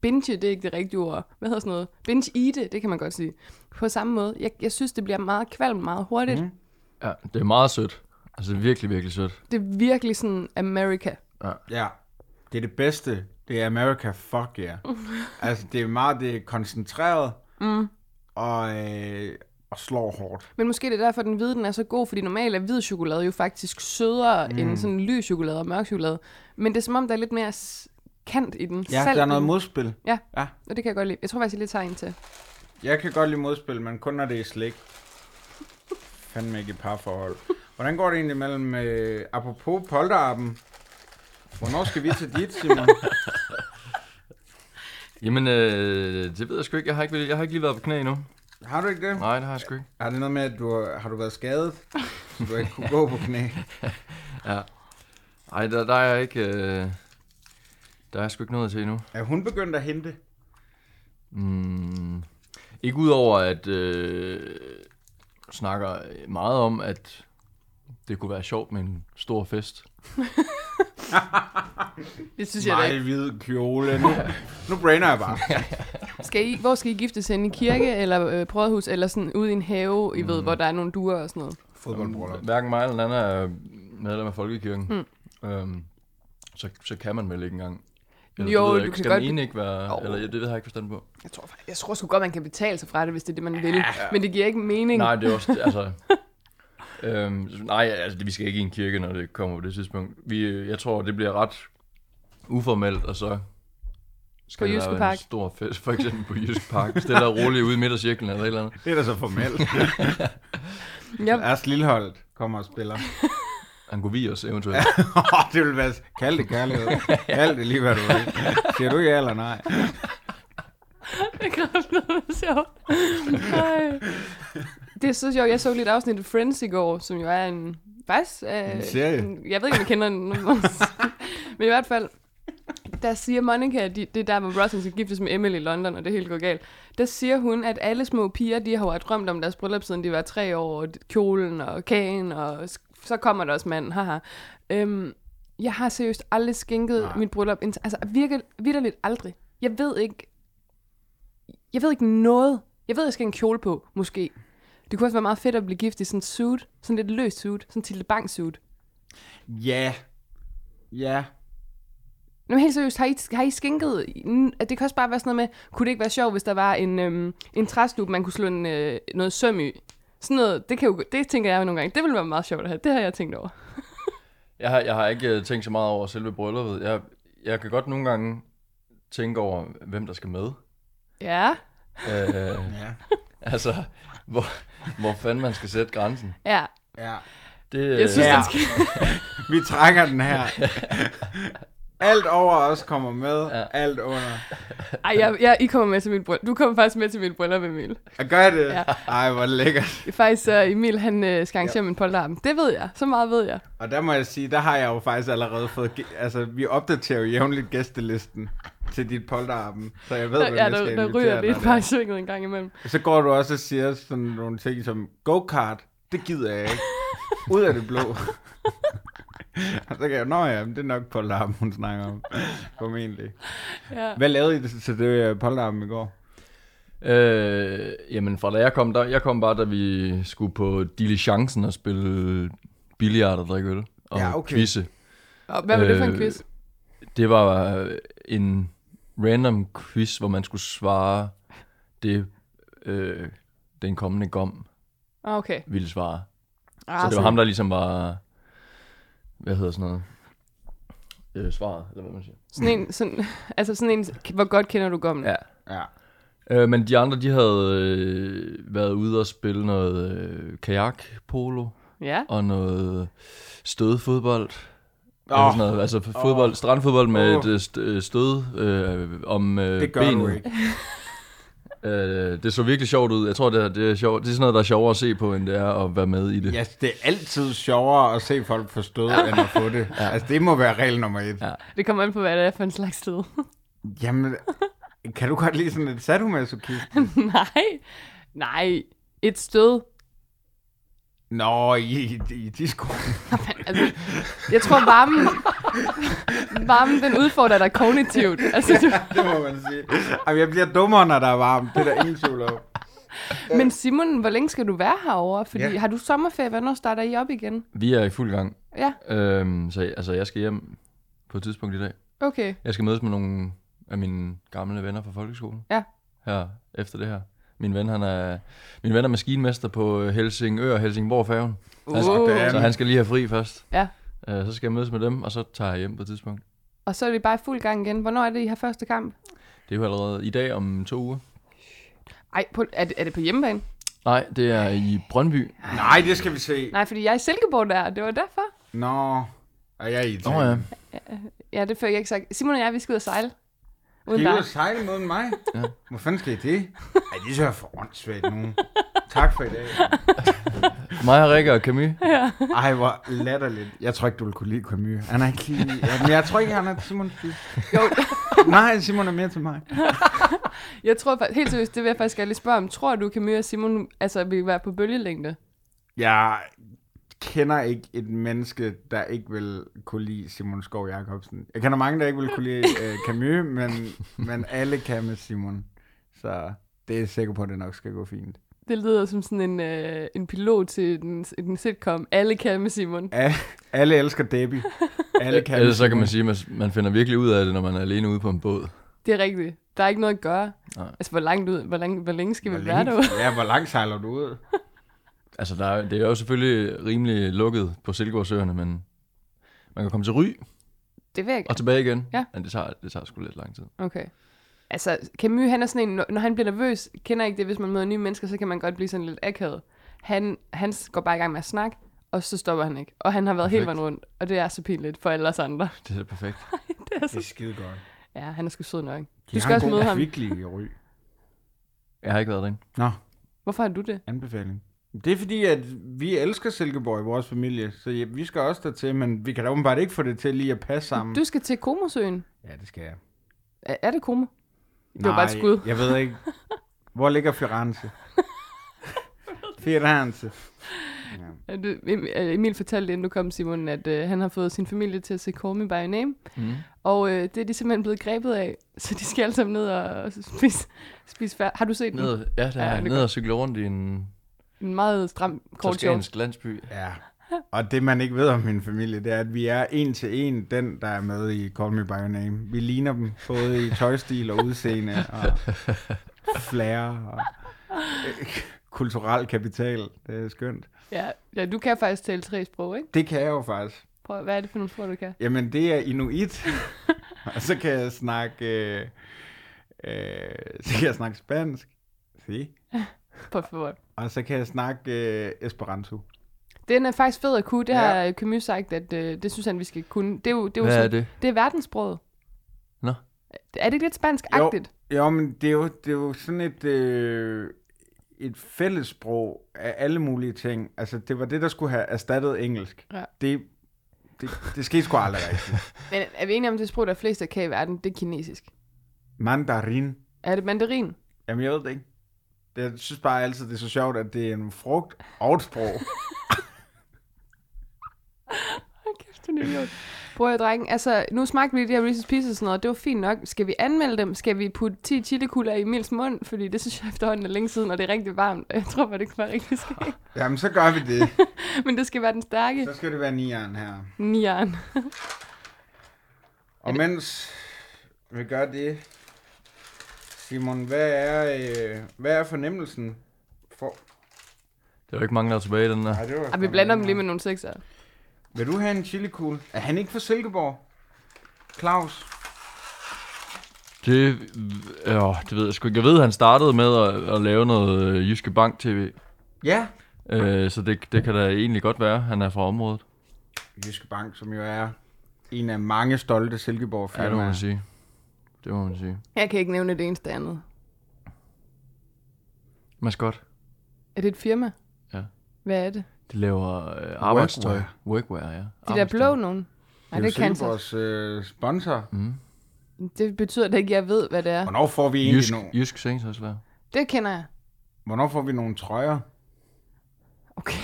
S1: binge, det er ikke det rigtige ord. Hvad hedder sådan noget? Binge eat, det kan man godt sige. På samme måde. Jeg, jeg synes, det bliver meget kvalmt meget hurtigt. Mm.
S6: Ja, det er meget sødt. Altså virkelig, virkelig sødt.
S1: Det er virkelig sådan America.
S2: Ja. Det er det bedste. Det er America fuck yeah. altså, det er meget det er koncentreret. Mm. Og, øh, og slår hårdt.
S1: Men måske det er derfor, den hvide den er så god, fordi normalt er hvid chokolade jo faktisk sødere mm. end sådan lys chokolade og mørk chokolade. Men det er som om, der er lidt mere s- kant i den.
S2: Ja,
S1: Salt
S2: der er
S1: i
S2: noget
S1: den.
S2: modspil.
S1: Ja,
S2: Ja.
S1: og det kan jeg godt lide. Jeg tror faktisk, jeg lige tager en til.
S2: Jeg kan godt lide modspil, men kun når det er slik. Fandme ikke i parforhold. Hvordan går det egentlig mellem... Øh, apropos polterappen. Hvornår skal vi til dit, Simon?
S6: Jamen, øh, det ved jeg sgu ikke. Jeg har ikke, jeg har ikke lige været på knæ endnu.
S2: Har du ikke det?
S6: Nej, det har jeg sgu ikke.
S2: Har det noget med, at du har, har du været skadet, så du ikke kunne gå på knæ?
S6: Nej, der, der er jeg ikke... Øh, der er jeg sgu ikke noget til endnu.
S2: Er hun begyndt at hente?
S6: Mm, ikke udover at øh, snakker meget om, at det kunne være sjovt med en stor fest.
S1: Det synes jeg da
S2: Nej,
S1: ikke.
S2: hvid kjole. Nu, nu brainer jeg bare.
S1: Skal I, hvor skal I giftes hen? I kirke eller øh, prøvehus eller sådan ude i en have, I
S2: Mm.
S1: ved, hvor der er nogle duer og sådan noget?
S2: Fodboldbrøller.
S6: Hverken mig eller Nana er medlem af
S1: Hmm.
S6: Folkekirken. Mm. Øhm, så, så kan man vel ikke engang. Eller,
S1: Jo,
S6: det ved jeg
S1: du
S6: ikke.
S1: kan
S6: Skal
S1: godt-
S6: den ene ikke være... Eller, ja, det har jeg ikke forstand på.
S1: Jeg tror, jeg tror sgu godt, man kan betale sig fra det, hvis det er det, man vil. Men det giver ikke mening.
S6: Nej, det er også... altså, øhm, nej, altså, det- vi skal ikke i en kirke, når det kommer på det tidspunkt. Vi, øh, jeg tror, det bliver ret uformelt, og så skal
S1: På
S6: der
S1: Jyske
S6: være en
S1: Park.
S6: stor fest, for eksempel på Jysk Park. Stille og roligt ude i midtercirklen eller et eller andet.
S2: Det er da så formelt.
S1: Jeg,
S2: Ers Lilleholdt kommer og spiller.
S6: Han kunne vi os eventuelt.
S2: det vil være... Kald det kærlighed. Kald det lige, hvad du vil. Siger du ja eller nej?
S1: Det er sjovt. Ej. Det er så sjovt. Jeg så lidt afsnit af Friends i går, som jo er en... Faktisk... Øh,
S2: En serie.
S1: jeg ved ikke, om jeg kender den. Men i hvert fald, der siger Monica, de, det er der, hvor Ross han skal giftes med Emily i London, og det hele går galt. Der siger hun, at alle små piger, de har jo drømt om deres bryllup, siden de var tre år, og kjolen og kagen, og s- så kommer der også manden, haha. Øhm, jeg har seriøst aldrig skænket Nej. mit bryllup, ind- altså virkelig, vidderligt aldrig. Jeg ved ikke, jeg ved ikke noget. Jeg ved, jeg skal have en kjole på, måske. Det kunne også være meget fedt at blive gift i sådan en suit, sådan lidt løst suit, sådan til bank suit.
S2: Ja. Ja.
S1: Men helt seriøst, har I, har I skænket, n- at det kan også bare være sådan noget med, kunne det ikke være sjovt, hvis der var en, øhm, en træstup, man kunne slå en, øh, noget søm i? Sådan noget, det, kan jo, det tænker jeg jo nogle gange, det ville være meget sjovt at have, det har jeg tænkt over.
S6: Jeg har, jeg har ikke øh, tænkt så meget over selve brylluppet. Jeg, jeg kan godt nogle gange tænke over, hvem der skal med.
S1: Ja,
S6: Øh,
S2: Ja.
S6: altså, hvor, hvor fanden man skal sætte grænsen.
S1: ja.
S2: Ja.
S6: Det,
S1: Jeg synes,
S6: øh,
S1: ja.
S2: Ja.
S1: den skal...
S2: Vi trækker den her. Alt over os kommer med. Alt under.
S1: Ej, jeg, jeg, I kommer med til min bryllup. Du kommer faktisk med til min bryllup, Emil.
S2: Gør jeg det?
S1: Ja.
S2: Ej, hvor lækkert.
S1: Faktisk så Emil, han øh, skal arrangere ja. min polterarm. Det ved jeg, så meget ved jeg.
S2: Og der må jeg sige, der har jeg jo faktisk allerede fået... ge- Altså, vi opdaterer jo jævnligt gæstelisten til dit polterappen, så jeg ved,
S1: Der,
S2: hvem
S1: ja,
S2: jeg skal
S1: der, der
S2: invitere
S1: ryger
S2: dig
S1: lidt
S2: til.
S1: bare i svinget en gang imellem.
S2: Så går du også og siger sådan nogle ting som, go-kart, det gider jeg ikke. Ud af det blå. og så kan jeg, nå ja, men det er nok polterappen, hun snakker om. Formentlig.
S1: Ja.
S2: Hvad lavede I til det øh, polterappen i går?
S6: øh, jamen, fra da jeg kom, der, jeg kom bare, da vi skulle på diligencen og spille billiard og drikke øl. Og
S2: Ja, okay.
S6: quizze.
S1: Og hvad var det for en
S6: Øh,
S1: quiz?
S6: Det var øh, en random quiz, hvor man skulle svare det, øh, den kommende gom
S1: Ah, okay.
S6: ville svare.
S1: Ah,
S6: Så det var ham, der ligesom var, hvad hedder sådan noget, øh, svaret, eller hvad man siger.
S1: Sådan en, sådan, altså sådan en, hvor godt kender du gommen?
S6: Ja.
S2: Ja.
S6: Øh, men de andre, de havde øh, været ude og spille noget øh, kajak, polo
S1: ja.
S6: og noget stødfodbold. Oh.
S2: Åh.
S6: Sådan noget, altså fodbold, oh. strandfodbold med
S2: Åh.
S6: et øh, st- øh, stød øh, om øh,
S2: Det gør
S6: benet.
S2: du ikke.
S6: Øh, det så virkelig sjovt ud. Jeg tror, det er, det, er sjovt. det er sådan noget, der er sjovere at se på, end det er at være med i det.
S2: Ja, det er altid sjovere at se folk forstå, end at få det. Altså, det må være regel nummer et. Ja.
S1: Det kommer an på, hvad det er for en slags sted.
S2: Jamen, kan du godt lide sådan et sadomasochist?
S1: nej, nej. Et stød.
S2: Nå, i, i, i disco.
S1: Altså, jeg tror, varmen, varmen den udfordrer dig kognitivt. Altså, du,
S2: det må man sige. Jamen, jeg bliver dummere, når der er varmt. Det er der ingen tvivl om.
S1: men Simon, hvor længe skal du være herovre? Fordi
S2: Ja.
S1: har du sommerferie? Hvornår starter I op igen?
S6: Vi er i fuld gang.
S1: Ja,
S6: Øhm, så altså, jeg skal hjem på et tidspunkt i dag.
S1: okay.
S6: Jeg skal mødes med nogle af mine gamle venner fra folkeskolen.
S1: Ja.
S6: Her, efter det her. Min ven, han er, min ven er maskinmester på øh, Helsingør og Helsingborg færgen. Altså,
S2: Sådan.
S6: Så han skal lige have fri først.
S1: Ja.
S6: Øh, så skal jeg mødes med dem, og så tager jeg hjem på et tidspunkt.
S1: Og så er vi bare i fuld gang igen. Hvornår er det, I har første kamp?
S6: Det er jo allerede i dag om to uger.
S1: Ej, på, er, det, er det på hjemmebane?
S6: Nej, det er i Brøndby.
S2: Nej, det skal vi se.
S1: Nej, fordi jeg er i Silkeborg der, og det var derfor.
S2: Nå, og jeg er i
S6: Nå
S2: Italien.
S6: oh, ja.
S1: Ja, det fik jeg ikke sagt. Simon og jeg, vi skal ud og sejle. Uden
S2: Skal I ud
S1: dig.
S2: og sejle mod mig? ja. Hvor fanden skal I det? Ej, det synes jeg er for åndssvagt nu. Tak for i dag.
S6: Mig og Rikke og Camille.
S2: Ej, hvor latterligt. Jeg tror ikke, du vil kunne lide Camus. Han er ikke lige... Ja, men jeg tror ikke, han er til Simon.
S1: Jo,
S2: Nej, Simon er mere til mig.
S1: jeg tror faktisk, helt seriøst, det vil jeg faktisk gerne lige spørge om. Tror du, Camille og Simon altså, vil være på bølgelængde?
S2: Jeg kender ikke et menneske, der ikke vil kunne lide Simon Skov Jacobsen. Jeg kender mange, der ikke vil kunne lide øh, Camus, men, men alle kan med Simon. Så det er jeg sikker på, at det nok skal gå fint.
S1: Det lyder som sådan en, øh, en pilot til en, en sitcom. Alle kan med Simon.
S2: Ja, alle elsker Debbie. Alle kan med
S6: Ellers så kan
S2: Simon.
S6: man sige, at man- man finder virkelig ud af det, når man er alene ude på en båd.
S1: Det er rigtigt. Der er ikke noget at gøre.
S6: Nej.
S1: Altså, hvor langt ud? Hvor, lang, hvor længe skal
S2: Hvor
S1: vi være
S2: længe-
S1: derude?
S2: Ja, hvor langt sejler du ud?
S6: Altså, der er, det er jo selvfølgelig rimelig lukket på Silkeborgsøerne, men man kan komme til Ry
S1: Det vil jeg
S6: og tilbage igen.
S1: Ja.
S6: Men det tager, det tager sgu lidt lang tid.
S1: Okay. Altså, Camus, han er sådan en, når når han bliver nervøs, kender jeg ikke det, hvis man møder nye mennesker, så kan man godt blive sådan lidt akavet. Han, han s- går bare i gang med at snakke, og så stopper han ikke. Og han har været Perfekt. hele
S6: Perfekt.
S1: vejen rundt, og det er så pinligt for alle os andre.
S6: Det er perfekt.
S1: Det er
S2: Det er
S1: så...
S2: skide godt.
S1: Ja, han er sgu sød nok. Altså- Du skal også møde ham.
S2: Kvickly i ry.
S6: Jeg har ikke været derinde.
S2: Nå,
S1: Hvorfor har du det?
S2: anbefaling. Det er fordi, at vi elsker Silkeborg i vores familie, så ja, vi skal også dertil, men vi kan da åbenbart ikke få det til lige at passe sammen.
S1: Du skal til Komosøen.
S2: Ja, det skal jeg.
S1: Er, er det Komo? Det var bare et skud.
S2: jeg ved ikke. Hvor ligger Firenze? Firenze.
S1: Ja. Du, Em- øh, Emil fortalte inden du kom, Simon, at øh, han har fået sin familie til at se Call Me By Your Name.
S6: Mm.
S1: Og øh, det er de simpelthen blevet grebet af, så de skal alle sammen ned og spise, spise færd. Har du set den?
S6: Ned, ja, der
S1: Ja,
S6: er
S1: det er
S6: ned og cykle rundt i en
S1: En meget stram kort shorts.
S6: toskansk landsby.
S2: Ja. Og det, man ikke ved om min familie, det er, at vi er en til en den, der er med i Call Me By Your Name. Vi ligner dem både i tøjstil og udseende og flair og øh, kulturel kapital. Det er skønt.
S1: Ja, ja, du kan faktisk tale tre sprog, ikke?
S2: Det kan jeg jo faktisk.
S1: Prøv, hvad er det for nogle sprog, du kan?
S2: Jamen, det er inuit. og så kan jeg snakke... Øh, øh, så kan jeg snakke spansk. Se.
S1: På favor.
S2: Og så kan jeg snakke øh, Esperanto.
S1: Den er faktisk fed at kunne. Det har
S2: Ja.
S1: Camus sagt, at øh, det synes han, vi skal kunne. Det er jo, det er jo
S6: Hvad er
S1: sådan,
S6: det?
S1: det er verdenssproget.
S6: Nå.
S1: Er det ikke lidt spansk-agtigt?
S2: Jo, men det er jo, det er jo sådan et, øh, et fællessprog af alle mulige ting. Altså, det var det, der skulle have erstattet engelsk.
S1: Ja.
S2: Det, det, det skete sgu aldrig rigtigt.
S1: Men er vi enige om, at det sprog, der er flest, der kan i verden, det er kinesisk?
S2: Mandarin.
S1: Er det mandarin?
S2: Jamen, jeg ved det ikke. Det, jeg synes bare altid, det er så sjovt, at det er en frugt og et sprog.
S1: Hold kæft, du er en idiot. Prøv at høre, drengen. Altså, nu smagte vi de her Reese's Pieces og sådan noget. Det var fint nok. Skal vi anmelde dem? Skal vi putte 10 chilikugler i Emils mund? Fordi det synes jeg efterhånden er længe siden, og det er rigtig varmt. Jeg tror bare, det kan være rigtig skægt.
S2: Jamen, så gør vi det.
S1: Men det skal være den stærke
S2: Så skal det være nieren her.
S1: nian.
S2: Og mens vi gør det, Simon, hvad er, øh, hvad er fornemmelsen? For...
S6: Der er jo ikke mange, der er tilbage i den der.
S2: Ej, det var
S1: Ej, Ah, vi blander dem lige med nogle sekser.
S2: Vil du have en chilikugle? Er han ikke fra Silkeborg? Claus?
S6: Det, øh, det ved jeg sgu ikke. Jeg ved, at han startede med at, at lave noget øh, Jyske Bank-tv.
S2: Ja.
S6: Øh, så det, det kan da egentlig godt være, han er fra området.
S2: Jyske Bank, som jo er en af mange stolte Silkeborg
S6: Ja, det må
S2: firmaer.
S6: man sige. Det må man sige.
S1: Jeg kan ikke nævne det eneste andet.
S6: Maskot.
S1: Er det et firma?
S6: Ja.
S1: Hvad er det?
S6: De laver øh, arbejdstøj.
S2: Workwear.
S6: Workwear. Workwear, ja.
S1: De der blå nogen?
S2: Det
S1: Nej,
S2: er
S1: det
S2: jo
S1: kan så.
S2: vores øh, sponsor.
S6: Mm.
S1: Det betyder da ikke, at jeg ved, hvad det er.
S2: Hvornår får vi egentlig
S6: Jysk,
S2: nogle,
S6: jysk sengtøjslærer.
S1: Det kender jeg.
S2: hvornår får vi nogle trøjer?
S1: Okay.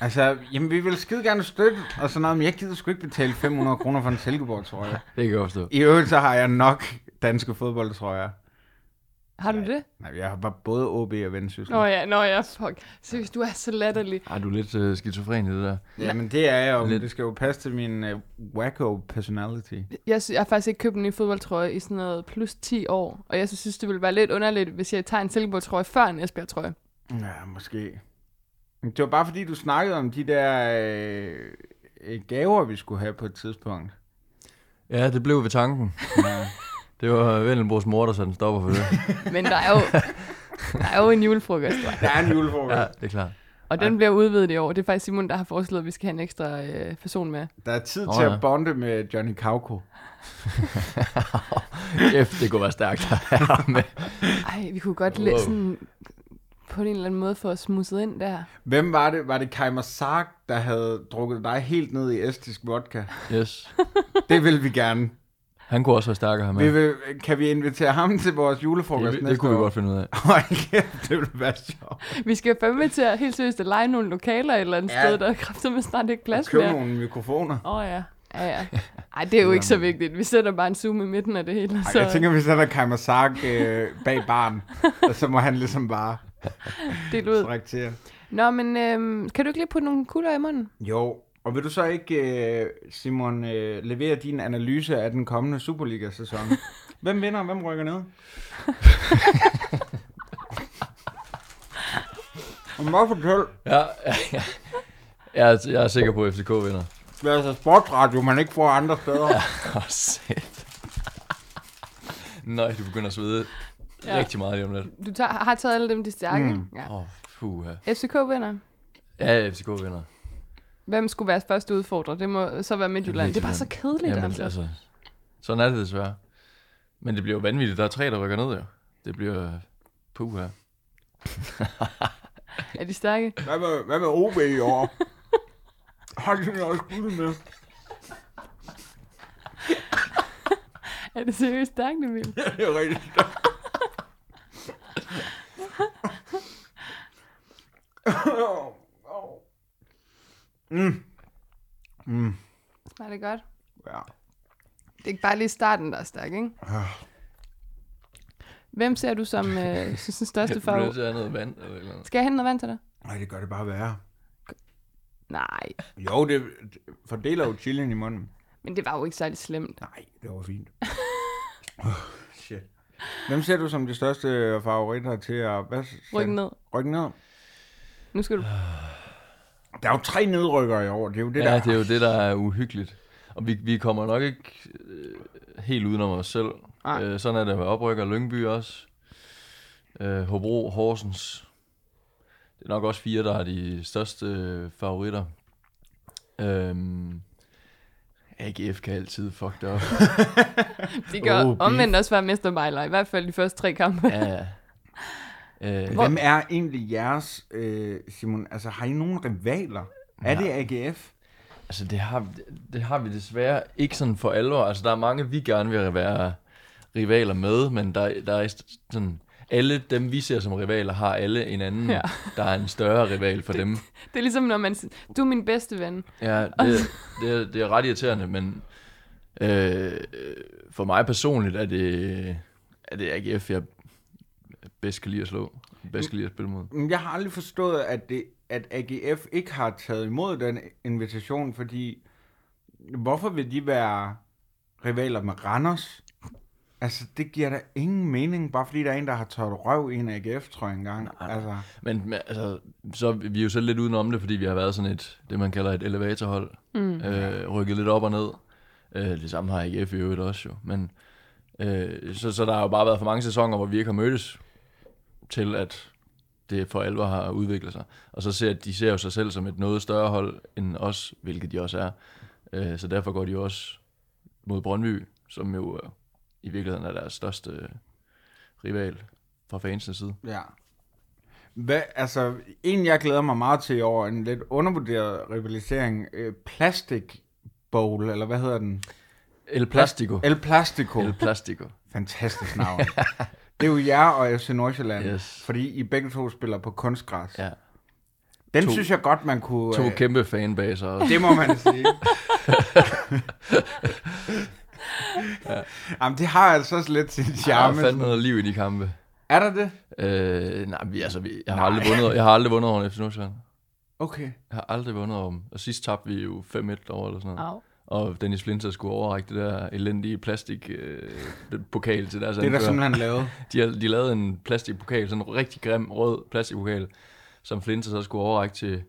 S2: Altså, jamen vi vil skide gerne støtte, og sådan noget, men jeg gider sgu ikke betale 500 kroner for en Silkeborg-trøje.
S6: Det kan jeg godt forstå.
S2: I øvrigt så har jeg nok danske fodboldtrøjer.
S1: Har du det?
S2: Nej, jeg har bare både OB og Vendsyssel.
S1: Nå ja, nå ja, fuck. Seriøst, du er så latterlig.
S6: Ej, du er lidt øh, skizofren i det der.
S2: Jamen det er jeg jo, men
S6: Lidt.
S2: det skal jo passe til min uh, wacko personality.
S1: Jeg, sy- jeg har faktisk ikke købt en ny fodboldtrøje i sådan noget plus 10 år, og jeg synes, det ville være lidt underligt, hvis jeg tager en Silkeborg-trøje før en Esbjerg-trøje.
S2: Ja, måske. Men Det var bare fordi, du snakkede om de der øh, øh, gaver, vi skulle have på et tidspunkt.
S6: Ja, det blev ved tanken.
S2: Ja.
S6: Det var Vellenbros mor, der satte en stopper for det.
S1: Men der er jo, der er jo en julefrokost, hva'?
S2: Der er en julefrokost.
S6: ja,
S2: Ja.
S6: det er klart.
S1: og den bliver udvidet i år. Det er faktisk Simon, der har foreslået, at vi skal have en ekstra øh, person med.
S2: Der er tid
S6: Nå,
S2: oh, til
S6: ja.
S2: at bonde med Johnny Kauko.
S6: Kæft, det kunne være stærkt at have ham med.
S1: Ej, vi kunne godt wow.
S6: Wow.
S1: sådan på en eller anden måde få os smusset ind der.
S2: Hvem var det? Var det Kaimer Sark, der havde drukket dig helt ned i estisk vodka?
S6: Yes.
S2: Det vil vi gerne.
S6: Han kunne også være stærkere her med.
S2: Vi vil, kan vi invitere ham til vores julefrokost
S6: det, det,
S2: næste
S6: det kunne vi
S2: år?
S6: godt finde ud af.
S2: Hold kæft, det ville være sjovt.
S1: Vi skal fandme til at helt seriøst at lege nogle lokaler et eller andet ja.
S2: Ja.
S1: sted, der er kraftedeme snart ikke plads
S2: Køb
S1: mere.
S2: nogle mikrofoner.
S1: Åh oh, ja. Ja, ja. Ej, det er jo ikke så vigtigt. Vi sætter bare en zoom i midten af det hele. og
S2: Ej,
S1: Så,
S2: jeg tænker, vi sætter Kaimer Sark øh, bag barn, og så må han ligesom bare
S1: del ud.
S2: traktere.
S1: Nå, men øhm, kan du ikke lige putte nogle kugler i munden?
S2: Jo, og vil du så ikke, øh, Simon, øh, levere din analyse af den kommende Superliga-sæson? hvem vinder, og hvem rykker ned? og må jeg fortælle,
S6: Ja, ja, ja. Jeg, er, jeg er sikker på, at FCK vinder.
S2: det er altså sportsradio, man ikke får andre steder.
S6: Åh, oh, sæt. Nej, du begynder at svede
S1: Ja.
S6: ja. rigtig meget lige om lidt.
S1: Du tager, har taget alle dem, de stærke. Mm.
S2: Mm.
S1: Ja.
S6: Åh, oh, puha.
S1: FCK vinder.
S6: Ja, FCK vinder.
S1: Hvem skulle være første udfordrer? Det må så være Midtjylland. Det er bare så kedeligt.
S6: Jamen,
S1: altså.
S6: altså, sådan er det desværre. Men det bliver jo vanvittigt. Der er tre, der rykker ned, jo. Det bliver... Puha.
S1: Er de stærke?
S2: Hvad med, hvad med OB i år? Har de noget skud med?
S1: Er det seriøst stærkt, Emil?
S2: Ja, det er rigtigt. mm. Mm.
S1: Nej, det er godt.
S2: Ja.
S1: Det er ikke bare lige starten, der er stærk, ikke?
S2: Ah.
S1: Hvem ser du som øh, synes, den
S6: Jeg
S1: største
S6: bliver
S1: favorit?
S6: nødt til at have noget vand eller et eller andet.
S1: Skal jeg hente noget vand til dig?
S2: Ej, det gør det bare værre.
S1: Nej,
S2: Jo, det, det fordeler jo chilien i munden.
S1: men det var jo ikke særlig slemt.
S2: Nej, det var fint. oh, shit. Hvem ser du som de største favoritter til at... Hvad,
S1: Ryk ned.
S2: Rykke ned.
S1: Nu skal du...
S2: Ah. Der er jo tre nedrykkere i år. Det er jo det, der
S6: Ja, det er jo det, der er uhyggeligt. Og vi, vi kommer nok ikke øh, helt udenom os selv.
S2: Nej.
S6: Øh, sådan er det med oprykker. Lyngby også. Øh, Hobro, Horsens. Det er nok også fire, der er de største øh, favoritter. Øhm, AGF kan altid fuck det op.
S1: De gør
S2: Oh,
S1: oh,
S2: beef.
S1: omvendt også være mestermejler, i hvert fald de første tre kampe.
S6: ja, ja. Øh,
S2: Hvem er egentlig jeres, øh, Simon? Altså, har I nogen rivaler? Er det AGF?
S6: Altså, det har, det har vi desværre ikke sådan for alvor. Altså, der er mange, vi gerne vil være rivaler med, men der, der er sådan... Alle dem, vi ser som rivaler, har alle en anden,
S1: Ja.
S6: ja. der er en større rival for dem.
S1: Det er ligesom, når man siger, du er min bedste ven.
S6: Ja, det, det, er, det er ret irriterende, men øh, for mig personligt er det, er det AGF, jeg bedst kan lide at slå. Bedst kan lide at spille mod.
S2: Men Jeg har aldrig forstået, at, det, at AGF ikke har taget imod den invitation, fordi hvorfor vil de være rivaler med Randers? Altså, det giver da ingen mening, bare fordi der er en, der har tørt røv i en AGF, tror jeg engang. Altså,
S6: Men men, altså, så er vi er jo så lidt udenom det, fordi vi har været sådan et, det man kalder et elevatorhold. Mm. Øh, rykket lidt op og ned. Øh, det samme har AGF i øvrigt også jo. Men, øh, så, så der har jo bare været for mange sæsoner, hvor vi ikke har mødtes til, at det for alvor har udviklet sig. Og så ser de ser jo sig selv som et noget større hold end os, hvilket de også er. Øh, så derfor går de jo også mod Brøndby, som jo øh, i virkeligheden er deres største øh, rival fra fansens side.
S2: ja. Hvad, altså, en jeg glæder mig meget til i år, en lidt undervurderet rivalisering, øh, Plastic Bowl, eller hvad hedder den?
S6: El Plastico.
S2: El Plastico.
S6: El Plastico.
S2: Fantastisk navn. det er jo jer og FC Nordsjælland,
S6: Yes.
S2: fordi I begge to spiller på kunstgræs.
S6: Ja.
S2: Den
S6: To-
S2: synes jeg godt, man kunne...
S6: To
S2: øh,
S6: kæmpe fanbaser også.
S2: Det må man sige. Jamen, det har altså også lidt sin charme.
S6: Der er fandme noget liv i de kampe.
S2: er der det?
S6: Øh, nej, vi, altså, vi, jeg, har aldrig vundet, jeg har aldrig vundet over FC Nordsjælland.
S2: Okay.
S6: Jeg har aldrig vundet over dem. Og sidst tabte vi jo 5-1 over eller sådan noget.
S1: Au.
S6: Og Dennis Flinter skulle overrække det der elendige plastik øh, pokal til deres
S2: Det er der
S6: anfører.
S2: simpelthen lavet.
S6: De, har, de lavede en plastikpokal, sådan en rigtig grim rød plastikpokal, som Flinter så skulle overrække til,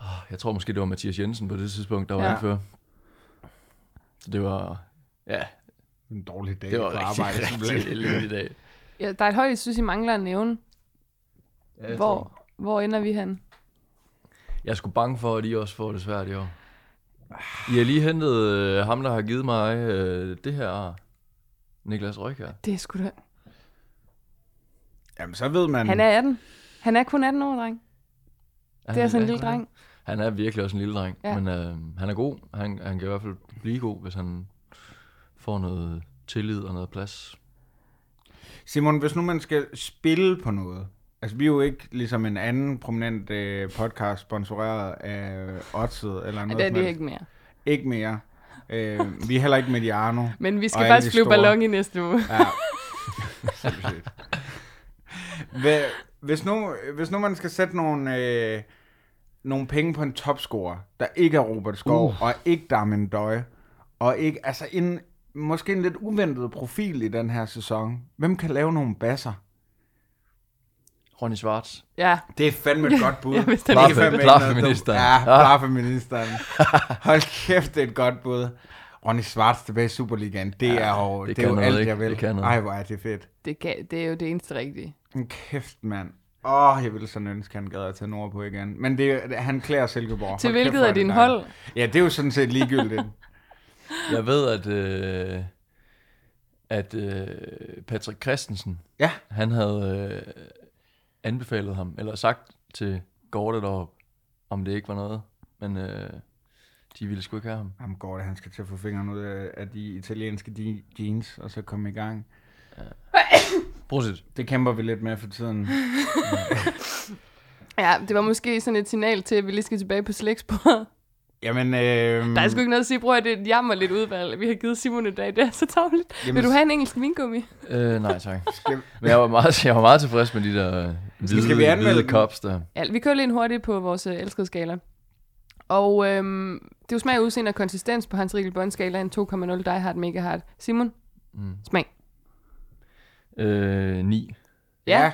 S6: Åh, jeg tror måske det var Mathias Jensen på det tidspunkt, der var
S1: Ja.
S6: ja. anfører. Så det var, ja,
S2: En dårlig dag
S6: det var
S2: på
S6: rigtig,
S2: arbejde.
S6: rigtig
S2: simpelthen.
S6: elendig dag.
S1: Ja, der er et højt, jeg synes, I mangler at nævne.
S6: Ja,
S1: Hvor, hvor ender vi hen?
S6: Jeg er sgu bange for, at I også får det svært i år. I har lige hentet øh, ham, der har givet mig øh, det her, Niklas Røg her.
S1: Det er sgu da...
S2: Jamen, så ved man...
S1: Han er 18. Han er kun 18 år, dreng. Det er
S6: han-
S1: sådan en lille dreng.
S6: Han er virkelig også en lille dreng,
S1: Ja.
S6: ja. men øh, han er god. Han, han kan i hvert fald blive god, hvis han får noget tillid og noget plads.
S2: Simon, hvis nu man skal spille på noget, altså vi er jo ikke ligesom en anden prominent øh, podcast sponsoreret af Oddset eller
S1: Ja,
S2: noget
S1: det er
S2: som
S1: det
S2: helst.
S1: ikke mere.
S2: ikke mere. Øh, vi er heller ikke Mediano.
S1: Men vi
S2: Og
S1: skal
S2: alle
S1: faktisk
S2: de
S1: flyve
S2: store.
S1: ballon i næste uge.
S2: Ja. Sindssygt. Hvad, hvis, nu, hvis nu man skal sætte nogle, øh, nogle penge på en topscorer, der ikke er Robert Skov, uh. og ikke Darmin Døje, og ikke, altså en, måske en lidt uventet profil i den her sæson. Hvem kan lave nogle basser?
S6: Ronny Schwartz.
S1: Ja,
S2: Det er fandme et godt bud.
S1: Ja, hvis den
S2: Det er
S6: ikke-
S2: fandme
S6: Klar Ah.
S2: ikke noget
S6: feministeren.
S2: dumt. Ja,
S6: Ja.
S2: klar feministeren. Hold kæft, det er et godt bud. Ronny Svarts tilbage i Superligaen, det er jo, det
S6: det
S2: det er
S6: kan
S2: jo
S6: noget,
S2: alt,
S6: ikke?
S2: jeg vil.
S6: Det kan noget.
S2: Ej, hvor er det fedt.
S1: det, kan, det er jo det eneste rigtige.
S2: En kæft, mand. Åh, oh, jeg ville sådan ønske, han gad at tage nord på igen. Men det, er- han klæder Silkeborg.
S1: Til
S2: Hold kæft,
S1: hvilket
S2: hvor er
S1: af
S2: det
S1: dine
S2: dejligt.
S1: hold?
S2: Ja, det er jo sådan set ligegyldigt.
S6: Jeg ved, at, øh, at øh, Patrick Christensen,
S2: Ja.
S6: han havde øh, anbefalet ham, eller sagt til Gorte deroppe, om det ikke var noget. Men øh, de ville sgu ikke have ham.
S2: Jamen, Gorte, han skal til at få fingrene ud af, af de italienske de- jeans, og så komme i gang.
S6: Prosit.
S2: Det kæmper vi lidt med for tiden.
S1: Ja, det var måske sådan et signal til, at vi lige skal tilbage på slægtsbordet.
S2: Jamen, øh,
S1: Der er sgu ikke noget at sige, bror, det er et jammerligt udvalg. Vi har givet Simon i dag, det er så tavligt.
S2: Jamen,
S1: Vil du have en engelsk vingummi?
S6: Øh, nej, tak.
S2: skal,
S6: Men jeg var meget, jeg var meget tilfreds med de der øh, hvide,
S2: Skal vi anmelde
S6: hvide
S2: dem?
S6: cops der.
S1: Ja, vi kører lige en hurtigt på vores øh, elskede skala. Og øhm, det er jo smag, udseende og konsistens på Hans Rigel Bond-skala. En 2,0 Die Hard Mega Hard. Simon,
S6: Mm.
S1: smag.
S6: Øh, 9.
S1: Ja.